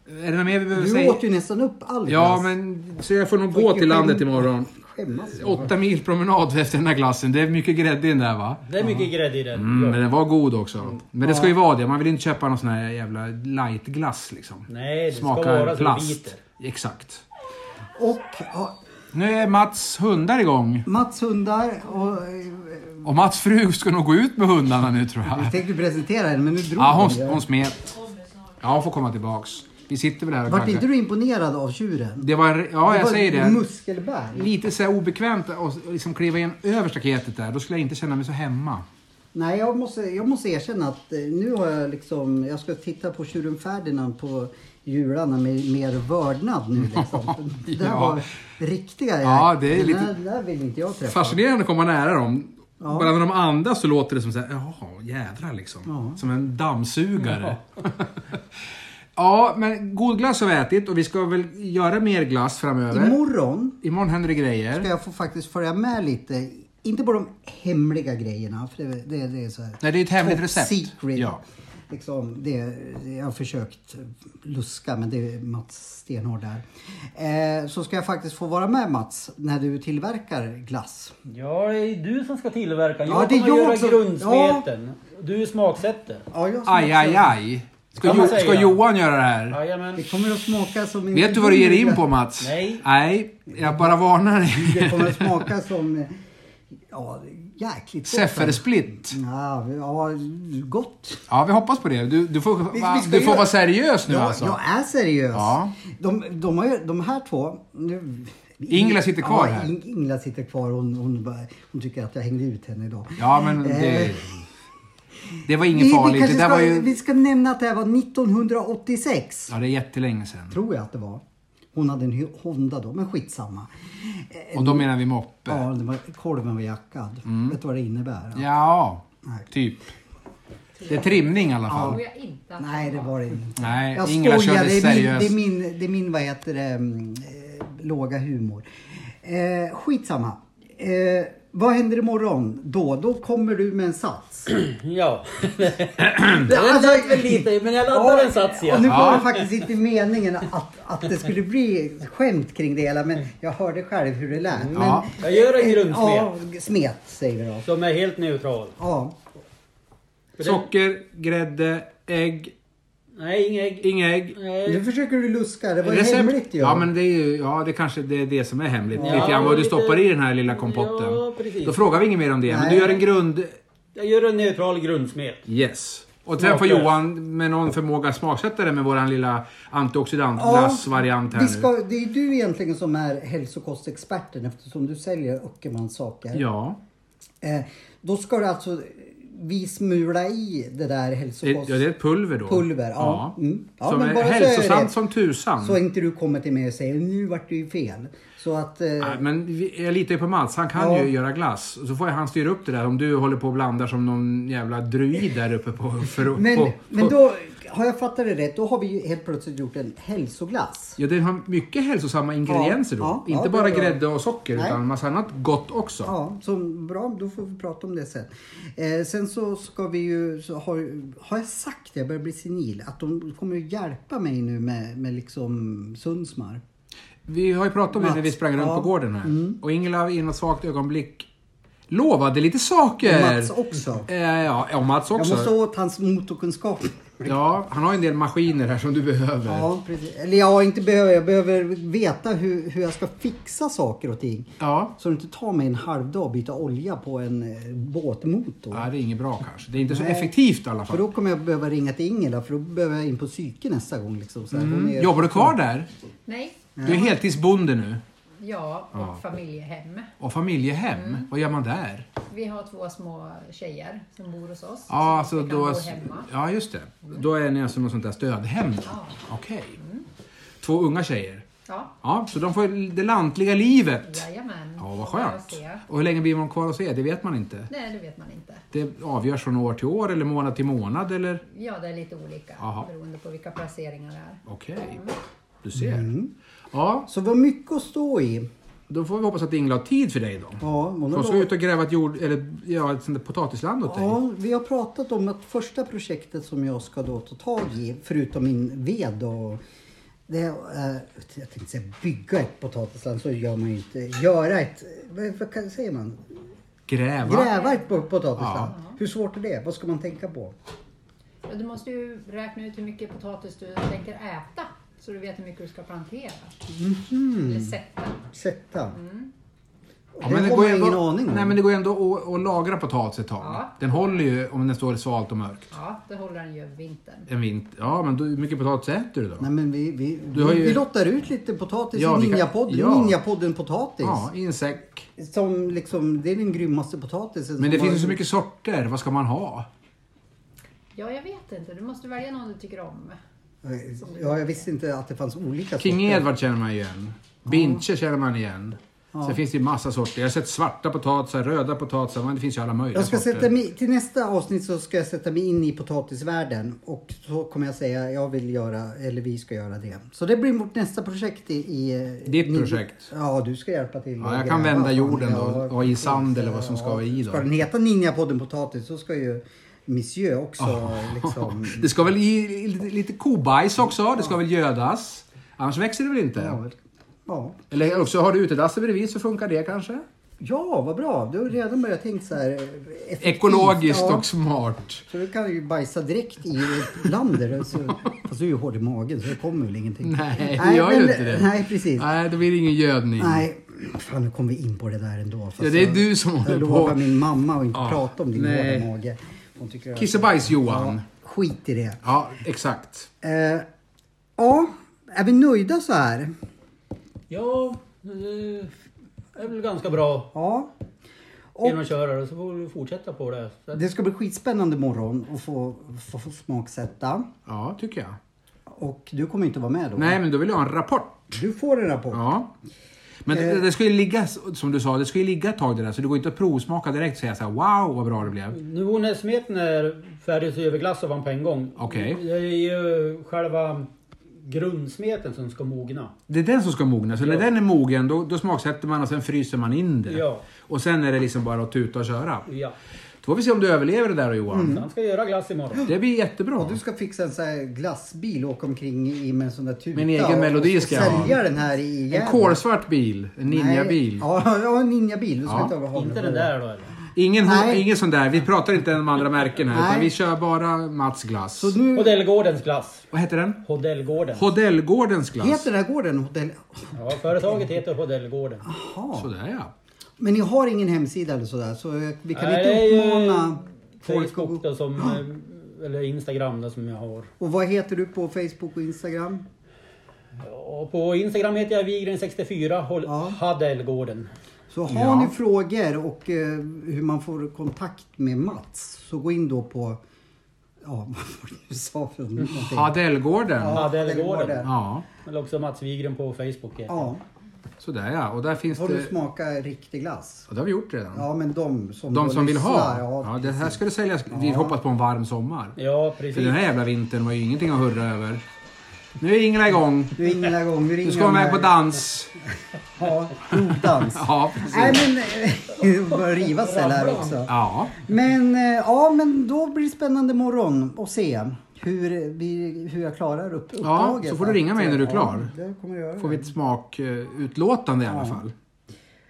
Speaker 1: Är det något mer vi behöver
Speaker 2: du
Speaker 1: säga?
Speaker 2: åt ju nästan upp all
Speaker 1: Ja,
Speaker 2: glass.
Speaker 1: men så jag får nog gå till landet imorgon.
Speaker 2: Skämmas.
Speaker 1: Åtta mil promenad efter den här glassen. Det är mycket grädde i den där va?
Speaker 3: Det är mycket grädde i den.
Speaker 1: Mm,
Speaker 3: ja.
Speaker 1: men den var god också. Men det ska ju vara det. Man vill inte köpa någon sån här jävla lightglass liksom.
Speaker 3: Nej, det ska
Speaker 1: Smakar
Speaker 3: vara så det
Speaker 1: plast.
Speaker 3: biter.
Speaker 1: Exakt.
Speaker 2: Och ja,
Speaker 1: Nu är Mats hundar igång.
Speaker 2: Mats hundar och... eh,
Speaker 1: Och Mats fru ska nog gå ut med hundarna nu tror jag.
Speaker 2: Jag tänkte presentera henne men nu drog
Speaker 1: Ja,
Speaker 2: den.
Speaker 1: hon, hon smet. Ja, hon får komma tillbaks. Vi sitter väl här och
Speaker 2: Vart
Speaker 1: kanske-
Speaker 2: inte du imponerad av tjuren?
Speaker 1: Det var en... Ja, jag
Speaker 2: var
Speaker 1: säger det.
Speaker 2: Muskelberg.
Speaker 1: Lite så här obekvämt att liksom kliva in över staketet där. Då skulle jag inte känna mig så hemma.
Speaker 2: Nej, jag måste, jag måste erkänna att eh, nu har jag liksom... Jag ska titta på tjuren Ferdinand på jularna med mer vördnad nu liksom. Det där
Speaker 1: Ja.
Speaker 2: var riktiga...
Speaker 1: Ja, det är
Speaker 2: den
Speaker 1: lite-
Speaker 2: Där, den där vill inte jag träffa.
Speaker 1: Fascinerande att komma nära dem. Bara när de andas så låter det som såhär, jaha, jädrar liksom. Som en dammsugare. Ja. men god glass har vi ätit och vi ska väl göra mer glass framöver.
Speaker 2: Imorgon
Speaker 1: Imorgon händer det
Speaker 2: ska
Speaker 1: grejer.
Speaker 2: jag få faktiskt följa med lite. Inte på de hemliga grejerna, för det, det, det är så här...
Speaker 1: Nej, det är ett hemligt
Speaker 2: top
Speaker 1: recept.
Speaker 2: Secret.
Speaker 1: Ja.
Speaker 2: Liksom, det, det- jag har försökt luska, men det är Mats stenhård där. Eh, så ska jag faktiskt få vara med Mats när du tillverkar glass.
Speaker 3: Ja, det är du som ska tillverka. Jag
Speaker 2: Ja, det är
Speaker 3: kommer
Speaker 2: jag
Speaker 3: göra
Speaker 2: som-
Speaker 3: grundsmeten. Du smaksätter.
Speaker 2: Ja, jag smakar-
Speaker 1: Aj, aj, aj. Ska,
Speaker 3: Kan man
Speaker 1: jo, ska
Speaker 3: säga.
Speaker 1: Johan göra det här?
Speaker 3: Jajamän.
Speaker 2: Det kommer att smaka som... en-
Speaker 1: Vet du vad du ger dig in på Mats?
Speaker 3: Nej.
Speaker 1: Nej, jag bara varnar
Speaker 2: Det
Speaker 1: dig.
Speaker 2: kommer att smaka som... eh, Ja, jäkligt gott.
Speaker 1: Seffersplitt.
Speaker 2: Ja, ja, gott.
Speaker 1: Ja, vi hoppas på det. Du, du får,
Speaker 2: Vi- vi ska
Speaker 1: du får
Speaker 2: göra-
Speaker 1: vara seriös nu
Speaker 2: jag,
Speaker 1: alltså.
Speaker 2: jag är seriös.
Speaker 1: Ja.
Speaker 2: De, de, har, ju- de här två... Nu,
Speaker 1: Ingela sitter kvar
Speaker 2: ja,
Speaker 1: här.
Speaker 2: In- Ingela sitter kvar. Hon, hon, bara- hon tycker att jag hängde ut henne idag.
Speaker 1: Ja, men det...
Speaker 2: Eh,
Speaker 1: Det var
Speaker 2: vi,
Speaker 1: inget
Speaker 2: vi,
Speaker 1: farligt. Det
Speaker 2: kanske
Speaker 1: där
Speaker 2: ska,
Speaker 1: var ju...
Speaker 2: vi ska nämna att det här var 1986.
Speaker 1: Ja, det är jättelänge sedan.
Speaker 2: Tror jag att det var. Hon hade en Hy- Honda då, men skitsamma.
Speaker 1: Och då menar vi moppe.
Speaker 2: Ja, det var, kolven var jackad. Vet du vad det innebär?
Speaker 1: Mm. Ja,
Speaker 2: Nej.
Speaker 1: typ. Det är trimning i alla fall.
Speaker 4: tror jag inte att
Speaker 2: Nej, det var det inte.
Speaker 1: Nej,
Speaker 2: jag
Speaker 1: Ingela
Speaker 2: skojar.
Speaker 1: körde
Speaker 2: Det är, min,
Speaker 1: seriöst.
Speaker 2: det, är min, det är min, vad heter det, mm, eh, låga humor. Eh, skitsamma. Eh, vad händer imorgon då? Då kommer du med en sats.
Speaker 3: Ja. Den satt väl lite, men jag laddar en sats
Speaker 2: Och Alltså- nu
Speaker 3: igen.
Speaker 2: var det faktiskt inte meningen att, att det skulle bli skämt kring det hela, men jag hörde själv hur det lät. Men,
Speaker 1: Mm. Ja.
Speaker 3: Jag gör en
Speaker 2: Ja,
Speaker 3: grundsmet
Speaker 2: smet säger vi då.
Speaker 3: som är helt neutral.
Speaker 2: Ja,
Speaker 3: För den-
Speaker 1: Socker, grädde, ägg.
Speaker 3: Nej, inga ägg.
Speaker 1: Inga ägg.
Speaker 3: Nej.
Speaker 2: nu försöker du luska. Det var ju
Speaker 1: Recept.
Speaker 2: hemligt ju.
Speaker 1: Ja, men det är ju, ja, det kanske det är det som är hemligt.
Speaker 3: Ja,
Speaker 1: lite grann vad du
Speaker 3: lite-
Speaker 1: stoppar i den här lilla kompotten.
Speaker 3: Ja, precis.
Speaker 1: Då frågar vi inget mer om det. Men
Speaker 2: Nej.
Speaker 1: du gör en grund...
Speaker 3: Jag gör en neutral grundsmet.
Speaker 1: Yes. Och sen får
Speaker 3: Smaklös.
Speaker 1: Johan med någon förmåga smaksätta det med våran lilla antioxidantglassvariant här
Speaker 2: vi
Speaker 1: nu.
Speaker 2: ska, Det är du egentligen som är hälsokostexperten eftersom du säljer Öckermans saker.
Speaker 1: Ja.
Speaker 2: Eh, då ska du alltså vi smula i det där
Speaker 1: Det, ja, det är
Speaker 2: hälsokostpulver.
Speaker 1: ett pulver då.
Speaker 2: Ja. Mm. ja
Speaker 1: Som
Speaker 2: men
Speaker 1: är
Speaker 2: bara så, är det.
Speaker 1: hälsosamt som tusan.
Speaker 2: så inte du kommer till mig och säger nu vart det ju fel. Så att... Eh,
Speaker 1: Nej, men vi- jag litar ju på Mats. Han kan
Speaker 2: Ja.
Speaker 1: ju göra glass. Så får ju han styra upp det där om du håller på och blandar som någon jävla druid där uppe på... För,
Speaker 2: men,
Speaker 1: på, på.
Speaker 2: men då, har jag fattat det rätt, då har vi ju helt plötsligt gjort en hälsoglass.
Speaker 1: Ja, det har mycket hälsosamma ingredienser då.
Speaker 2: Ja, ja,
Speaker 1: Inte
Speaker 2: det
Speaker 1: bara
Speaker 2: är bra.
Speaker 1: grädde och socker
Speaker 2: Nej.
Speaker 1: utan massa annat gott också.
Speaker 2: Ja, så bra, då får vi prata om det sen. Eh, sen så ska vi ju, så har, har jag sagt det, jag börjar bli senil, att de kommer att hjälpa mig nu med, med liksom Sundsmar.
Speaker 1: Vi har ju pratat om det när vi
Speaker 2: Mats,
Speaker 1: sprang runt
Speaker 2: ja. Mm.
Speaker 1: på gården här. Och Ingela i något svagt ögonblick lovade lite saker.
Speaker 2: Och Mats också.
Speaker 1: Eh, ja, ja, Mats
Speaker 2: Jag
Speaker 1: också.
Speaker 2: måste åt hans motorkunskap.
Speaker 1: Ja, han har en del maskiner här som du behöver.
Speaker 2: Ja, precis. Eller jag inte behöver, jag behöver veta hur, hur jag ska fixa saker och ting.
Speaker 1: Ja.
Speaker 2: Så det inte tar mig en halv dag att byta olja på en eh, båtmotor.
Speaker 1: ja, det är inget bra kanske. Det är inte så effektivt i alla
Speaker 2: För
Speaker 1: fall.
Speaker 2: då kommer jag behöva ringa till Ingela för då behöver jag in på psyke nästa gång. Liksom. Så här, hon är-
Speaker 1: Mm. Jobbar du kvar där?
Speaker 4: Nej.
Speaker 1: Du är heltidsbonde nu.
Speaker 4: Ja, och familjehem.
Speaker 1: Och familjehem,
Speaker 2: Mm.
Speaker 1: vad gör man där?
Speaker 4: Vi har två små tjejer som bor hos oss.
Speaker 1: Ja, alltså
Speaker 4: vi kan
Speaker 1: då...
Speaker 4: bo hemma.
Speaker 1: Ja, just det. Då är ni alltså något sånt där stödhem då?
Speaker 4: Ja.
Speaker 1: Okej.
Speaker 2: Mm.
Speaker 1: Två unga tjejer.
Speaker 4: Ja,
Speaker 1: Ja, så de får ju det lantliga livet.
Speaker 4: jajamän.
Speaker 1: Ja, vad
Speaker 4: Bara
Speaker 1: skönt.
Speaker 4: se.
Speaker 1: Och hur länge blir man kvar hos er? Det vet man inte.
Speaker 4: Nej, det vet man inte.
Speaker 1: Det avgörs från år till år eller månad till månad eller?
Speaker 4: Ja, det är lite olika
Speaker 1: Jaha.
Speaker 4: beroende på vilka placeringar det är.
Speaker 1: Okej, du ser.
Speaker 2: Mm.
Speaker 1: Ja,
Speaker 2: Så det var mycket att stå i.
Speaker 1: då får vi hoppas att Ingela har tid för dig då.
Speaker 2: Ja, hon
Speaker 1: Hon
Speaker 2: har
Speaker 1: ska ut och gräva ett, jord, eller, ja, ett sånt där potatisland åt dig.
Speaker 2: Ja, vi har pratat om att första projektet som jag ska då ta tag i, förutom min ved och det är, eh, jag tänkte säga bygga ett potatisland, så gör man ju inte. Göra ett, vad, vad kan- säger man?
Speaker 1: Gräva.
Speaker 2: Gräva ett po- potatisland. Hur svårt är det? Vad ska man tänka på?
Speaker 4: Och Du måste ju räkna ut hur mycket potatis du tänker äta så du vet hur mycket du ska plantera. Eller sätta.
Speaker 2: Sätta?
Speaker 1: Mm. Ja,
Speaker 2: det, har
Speaker 1: går
Speaker 2: man
Speaker 1: ju
Speaker 2: ingen
Speaker 1: ändå-
Speaker 2: aning om.
Speaker 1: Nej, men det går ju ändå att, att lagra potatis ett tag.
Speaker 4: Ja.
Speaker 1: Den håller ju om den står svalt och mörkt.
Speaker 4: Ja, det håller den ju över vintern.
Speaker 1: En vinter. Ja, men då, hur mycket potatis äter du då?
Speaker 2: Nej, men vi, vi,
Speaker 1: Du har
Speaker 2: vi,
Speaker 1: ju-
Speaker 2: vi lottar ut lite potatis
Speaker 1: Ja, vi
Speaker 2: i
Speaker 1: kan-
Speaker 2: Ninjapodden.
Speaker 1: ja.
Speaker 2: Ninjapodden potatis.
Speaker 1: ja, i en säck.
Speaker 2: Som liksom, det är den grymmaste potatisen.
Speaker 1: Men det
Speaker 2: som
Speaker 1: finns ju
Speaker 2: har-
Speaker 1: så mycket sorter. Vad ska man ha?
Speaker 4: Ja, jag vet inte. Du måste välja någon du tycker om.
Speaker 2: Eh, Ja, jag visste inte att det fanns olika
Speaker 1: King
Speaker 2: sorter.
Speaker 1: Edward känner man igen. Binche känner man igen. Sen finns det ju massa sorter. Jag har sett svarta potatisar, röda potatisar, men det finns ju alla möjliga
Speaker 2: Jag ska
Speaker 1: sorter.
Speaker 2: sätta mig, till nästa avsnitt så ska jag sätta mig in i potatisvärlden och så kommer jag säga jag vill göra, eller vi ska göra det. Så det blir mot nästa projekt i... i
Speaker 1: Ditt
Speaker 2: min-
Speaker 1: projekt?
Speaker 2: Ja, du ska hjälpa till.
Speaker 1: Ja,
Speaker 2: och
Speaker 1: jag kan
Speaker 2: gräva.
Speaker 1: vända jorden då
Speaker 2: Ja,
Speaker 1: och ha i sand
Speaker 2: precis.
Speaker 1: eller vad som ska vara i då.
Speaker 2: Ska den heta Ninjapodden Potatis så ska ju Monsieur också liksom...
Speaker 1: Ah. Det ska väl i lite, lite kobajs också. Det ska väl gödas. Annars växer det väl inte?
Speaker 2: Ja, ja.
Speaker 1: Eller också har du utedasset bredvid så funkar det kanske.
Speaker 2: ja, vad bra. Du har redan börjat tänka så här... eh, effektivt.
Speaker 1: Ekologiskt
Speaker 2: Ja.
Speaker 1: och smart.
Speaker 2: Så du kan ju bajsa direkt i ett land. där, så- Fast du är ju hård i magen så det kommer väl ingenting.
Speaker 1: Nej, det gör ju
Speaker 2: men-
Speaker 1: inte det.
Speaker 2: Nej, precis. Nej.
Speaker 1: Nej, då blir det ingen gödning.
Speaker 2: fan nu kom vi in på det där ändå. Fast
Speaker 1: Ja, det är
Speaker 2: jag-
Speaker 1: du som håller
Speaker 2: Jag
Speaker 1: på.
Speaker 2: lovar min mamma att inte
Speaker 1: Ja,
Speaker 2: prata om din
Speaker 1: nej.
Speaker 2: hårda mage. Hon tycker att-
Speaker 1: Kiss och bajs Johan.
Speaker 2: Skit i det.
Speaker 1: Ja, exakt.
Speaker 2: Eh, ja, är vi nöjda så här?
Speaker 3: Ja, det är väl ganska bra.
Speaker 2: Ja.
Speaker 3: Genom att köra det så får vi fortsätta på det. Så att,
Speaker 2: Det ska bli skitspännande morgon att få, få, få smaksätta.
Speaker 1: Ja, tycker jag.
Speaker 2: Och du kommer inte vara med då.
Speaker 1: Nej, men då vill jag ha en rapport.
Speaker 2: Du får en rapport.
Speaker 1: Ja. Men det,
Speaker 2: Eh.
Speaker 1: det ska ju ligga, som du sa, det ska ju ligga ett tag det där. Så det går inte att provsmaka direkt och säga så här, wow vad bra det blev.
Speaker 3: nu när smeten är färdig så överglassar man på en gång.
Speaker 1: Okej.
Speaker 3: Det är ju själva grundsmeten som ska mogna.
Speaker 1: Det är den som ska mogna. Så när
Speaker 3: Ja.
Speaker 1: den är mogen då, då smaksätter man och sen fryser man in det.
Speaker 3: Ja.
Speaker 1: Och sen är det liksom bara att tuta och köra.
Speaker 3: Ja.
Speaker 1: Då får vi se om du överlever det där då Johan.
Speaker 3: Han ska göra glass imorgon.
Speaker 1: Det blir jättebra.
Speaker 2: Och du Mm. ska fixa en sån här glassbil och åka omkring i med en sån där tuta.
Speaker 1: Min egen
Speaker 2: och,
Speaker 1: melodi
Speaker 2: och
Speaker 1: ska jag ha.
Speaker 2: sälja den här i
Speaker 1: En kolsvart bil, en ninjabil.
Speaker 2: Ja, ja, en ninjabil. Du ska
Speaker 1: Ja.
Speaker 2: inte ha ha-
Speaker 3: Inte den där då eller?
Speaker 1: Ingen,
Speaker 2: Nej.
Speaker 1: ingen sån där, vi pratar inte om andra märken här. Utan
Speaker 2: Nej.
Speaker 1: vi kör bara Mats glass.
Speaker 2: Så nu
Speaker 3: Hodellgårdens glass.
Speaker 1: Vad heter den?
Speaker 3: Hodellgården.
Speaker 1: Hodellgårdens glass.
Speaker 2: heter den här gården hotell...
Speaker 3: Ja, företaget heter Hodellgården.
Speaker 1: Ah,
Speaker 2: Jaha.
Speaker 1: Sådär ja.
Speaker 2: Men ni har ingen hemsida eller sådär så eh, vi kan
Speaker 3: Nej,
Speaker 2: inte
Speaker 3: det är ju
Speaker 2: uppmana folk att
Speaker 3: Facebook
Speaker 2: gå...
Speaker 3: då som,
Speaker 1: Ah.
Speaker 3: eh, eller Instagram då som jag har.
Speaker 2: Och vad heter du på Facebook och Instagram?
Speaker 3: Och på Instagram heter jag Vigren64 Hol-
Speaker 2: Ja.
Speaker 3: Hadellgården.
Speaker 2: Så har
Speaker 1: Ja.
Speaker 2: ni frågor och eh, hur man får kontakt med Mats så gå in då på... Ja, vad var det du sa för någonting?
Speaker 1: Hadellgården.
Speaker 2: Ja,
Speaker 3: Hadellgården.
Speaker 2: Hadellgården.
Speaker 1: Ja,
Speaker 3: Eller också Mats Vigren på Facebook.
Speaker 1: Ah.
Speaker 3: heter jag.
Speaker 2: Ja.
Speaker 1: sådär ja. Och där finns
Speaker 2: Har
Speaker 1: det...
Speaker 2: du smakat riktig glass?
Speaker 1: Ja, det har vi gjort redan.
Speaker 2: Ja, men de som,
Speaker 1: De
Speaker 2: då
Speaker 1: som vill ha.
Speaker 2: lyssnar,
Speaker 1: Ja,
Speaker 2: Ja,
Speaker 1: det här ska det säljas. Vi hoppas på en varm sommar.
Speaker 3: Ja,
Speaker 1: För
Speaker 3: precis.
Speaker 1: den här jävla vintern var ju ingenting att hurra över. Nu är Ingela igång.
Speaker 2: Du ringer den här gången. Du ringer
Speaker 1: Du ska vara med på
Speaker 2: den
Speaker 1: dans.
Speaker 2: här- Ja, provdans.
Speaker 1: Ja, precis.
Speaker 2: Nej, men... eh, Det börjar riva sig här också.
Speaker 1: Ja,
Speaker 2: Men, eh, ja, men då blir det spännande morgon att se hur, vi, hur jag klarar upp uppdraget. eh,
Speaker 1: så får du ringa mig när du är klar.
Speaker 2: Ja, det kommer jag göra.
Speaker 1: får vi ett smakutlåtande i alla fall.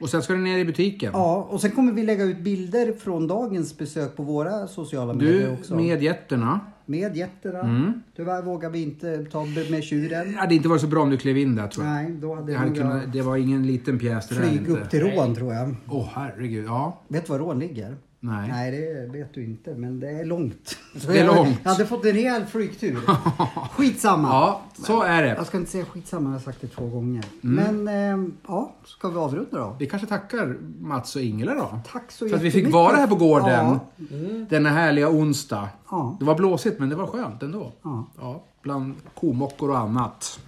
Speaker 1: Och sen ska den ner i butiken.
Speaker 2: Ja, och sen kommer vi lägga ut bilder från dagens besök på våra sociala medier
Speaker 1: du,
Speaker 2: också.
Speaker 1: med Mm. jätterna.
Speaker 2: Med jätterna. Tyvärr vågar vi inte ta b- med
Speaker 1: Det
Speaker 2: tjuren.
Speaker 1: hade inte varit så bra om du klev in där tror jag.
Speaker 2: Nej, då hade
Speaker 1: Det,
Speaker 2: det
Speaker 1: hade
Speaker 2: nog
Speaker 1: kunnat, det var ingen liten pjäs det
Speaker 2: jag
Speaker 1: där
Speaker 2: flyg
Speaker 1: inte.
Speaker 2: upp till Rån tror jag.
Speaker 1: Åh herregud, ja.
Speaker 2: Vet du var Rån ligger?
Speaker 1: Nej.
Speaker 2: Nej, det vet du inte, men det är långt. Så
Speaker 1: Det är
Speaker 2: jag-
Speaker 1: långt.
Speaker 2: Jag hade fått en rejäl flygtur. Skitsamma.
Speaker 1: Ja, så är det.
Speaker 2: Jag ska inte säga skitsamma, jag har sagt det två gånger.
Speaker 1: Mm.
Speaker 2: Men ehm, ja, ska vi avrunda då?
Speaker 1: Vi kanske tackar Mats och Ingela då.
Speaker 2: Tack så
Speaker 1: För att vi
Speaker 2: jättemycket.
Speaker 1: fick vara här på gården
Speaker 2: Ja.
Speaker 1: denna härliga onsdag.
Speaker 2: Ja.
Speaker 1: Det var blåsigt men det var skönt ändå.
Speaker 2: Ja.
Speaker 1: Ja, bland komockor och annat.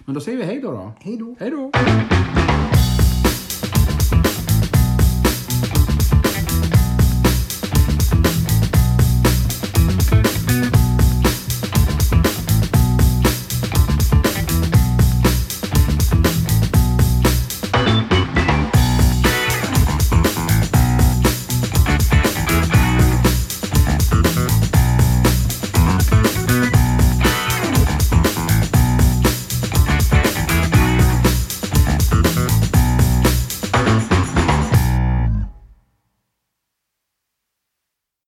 Speaker 1: Men då säger vi hej då. då.
Speaker 2: Hej då.
Speaker 1: Hej då!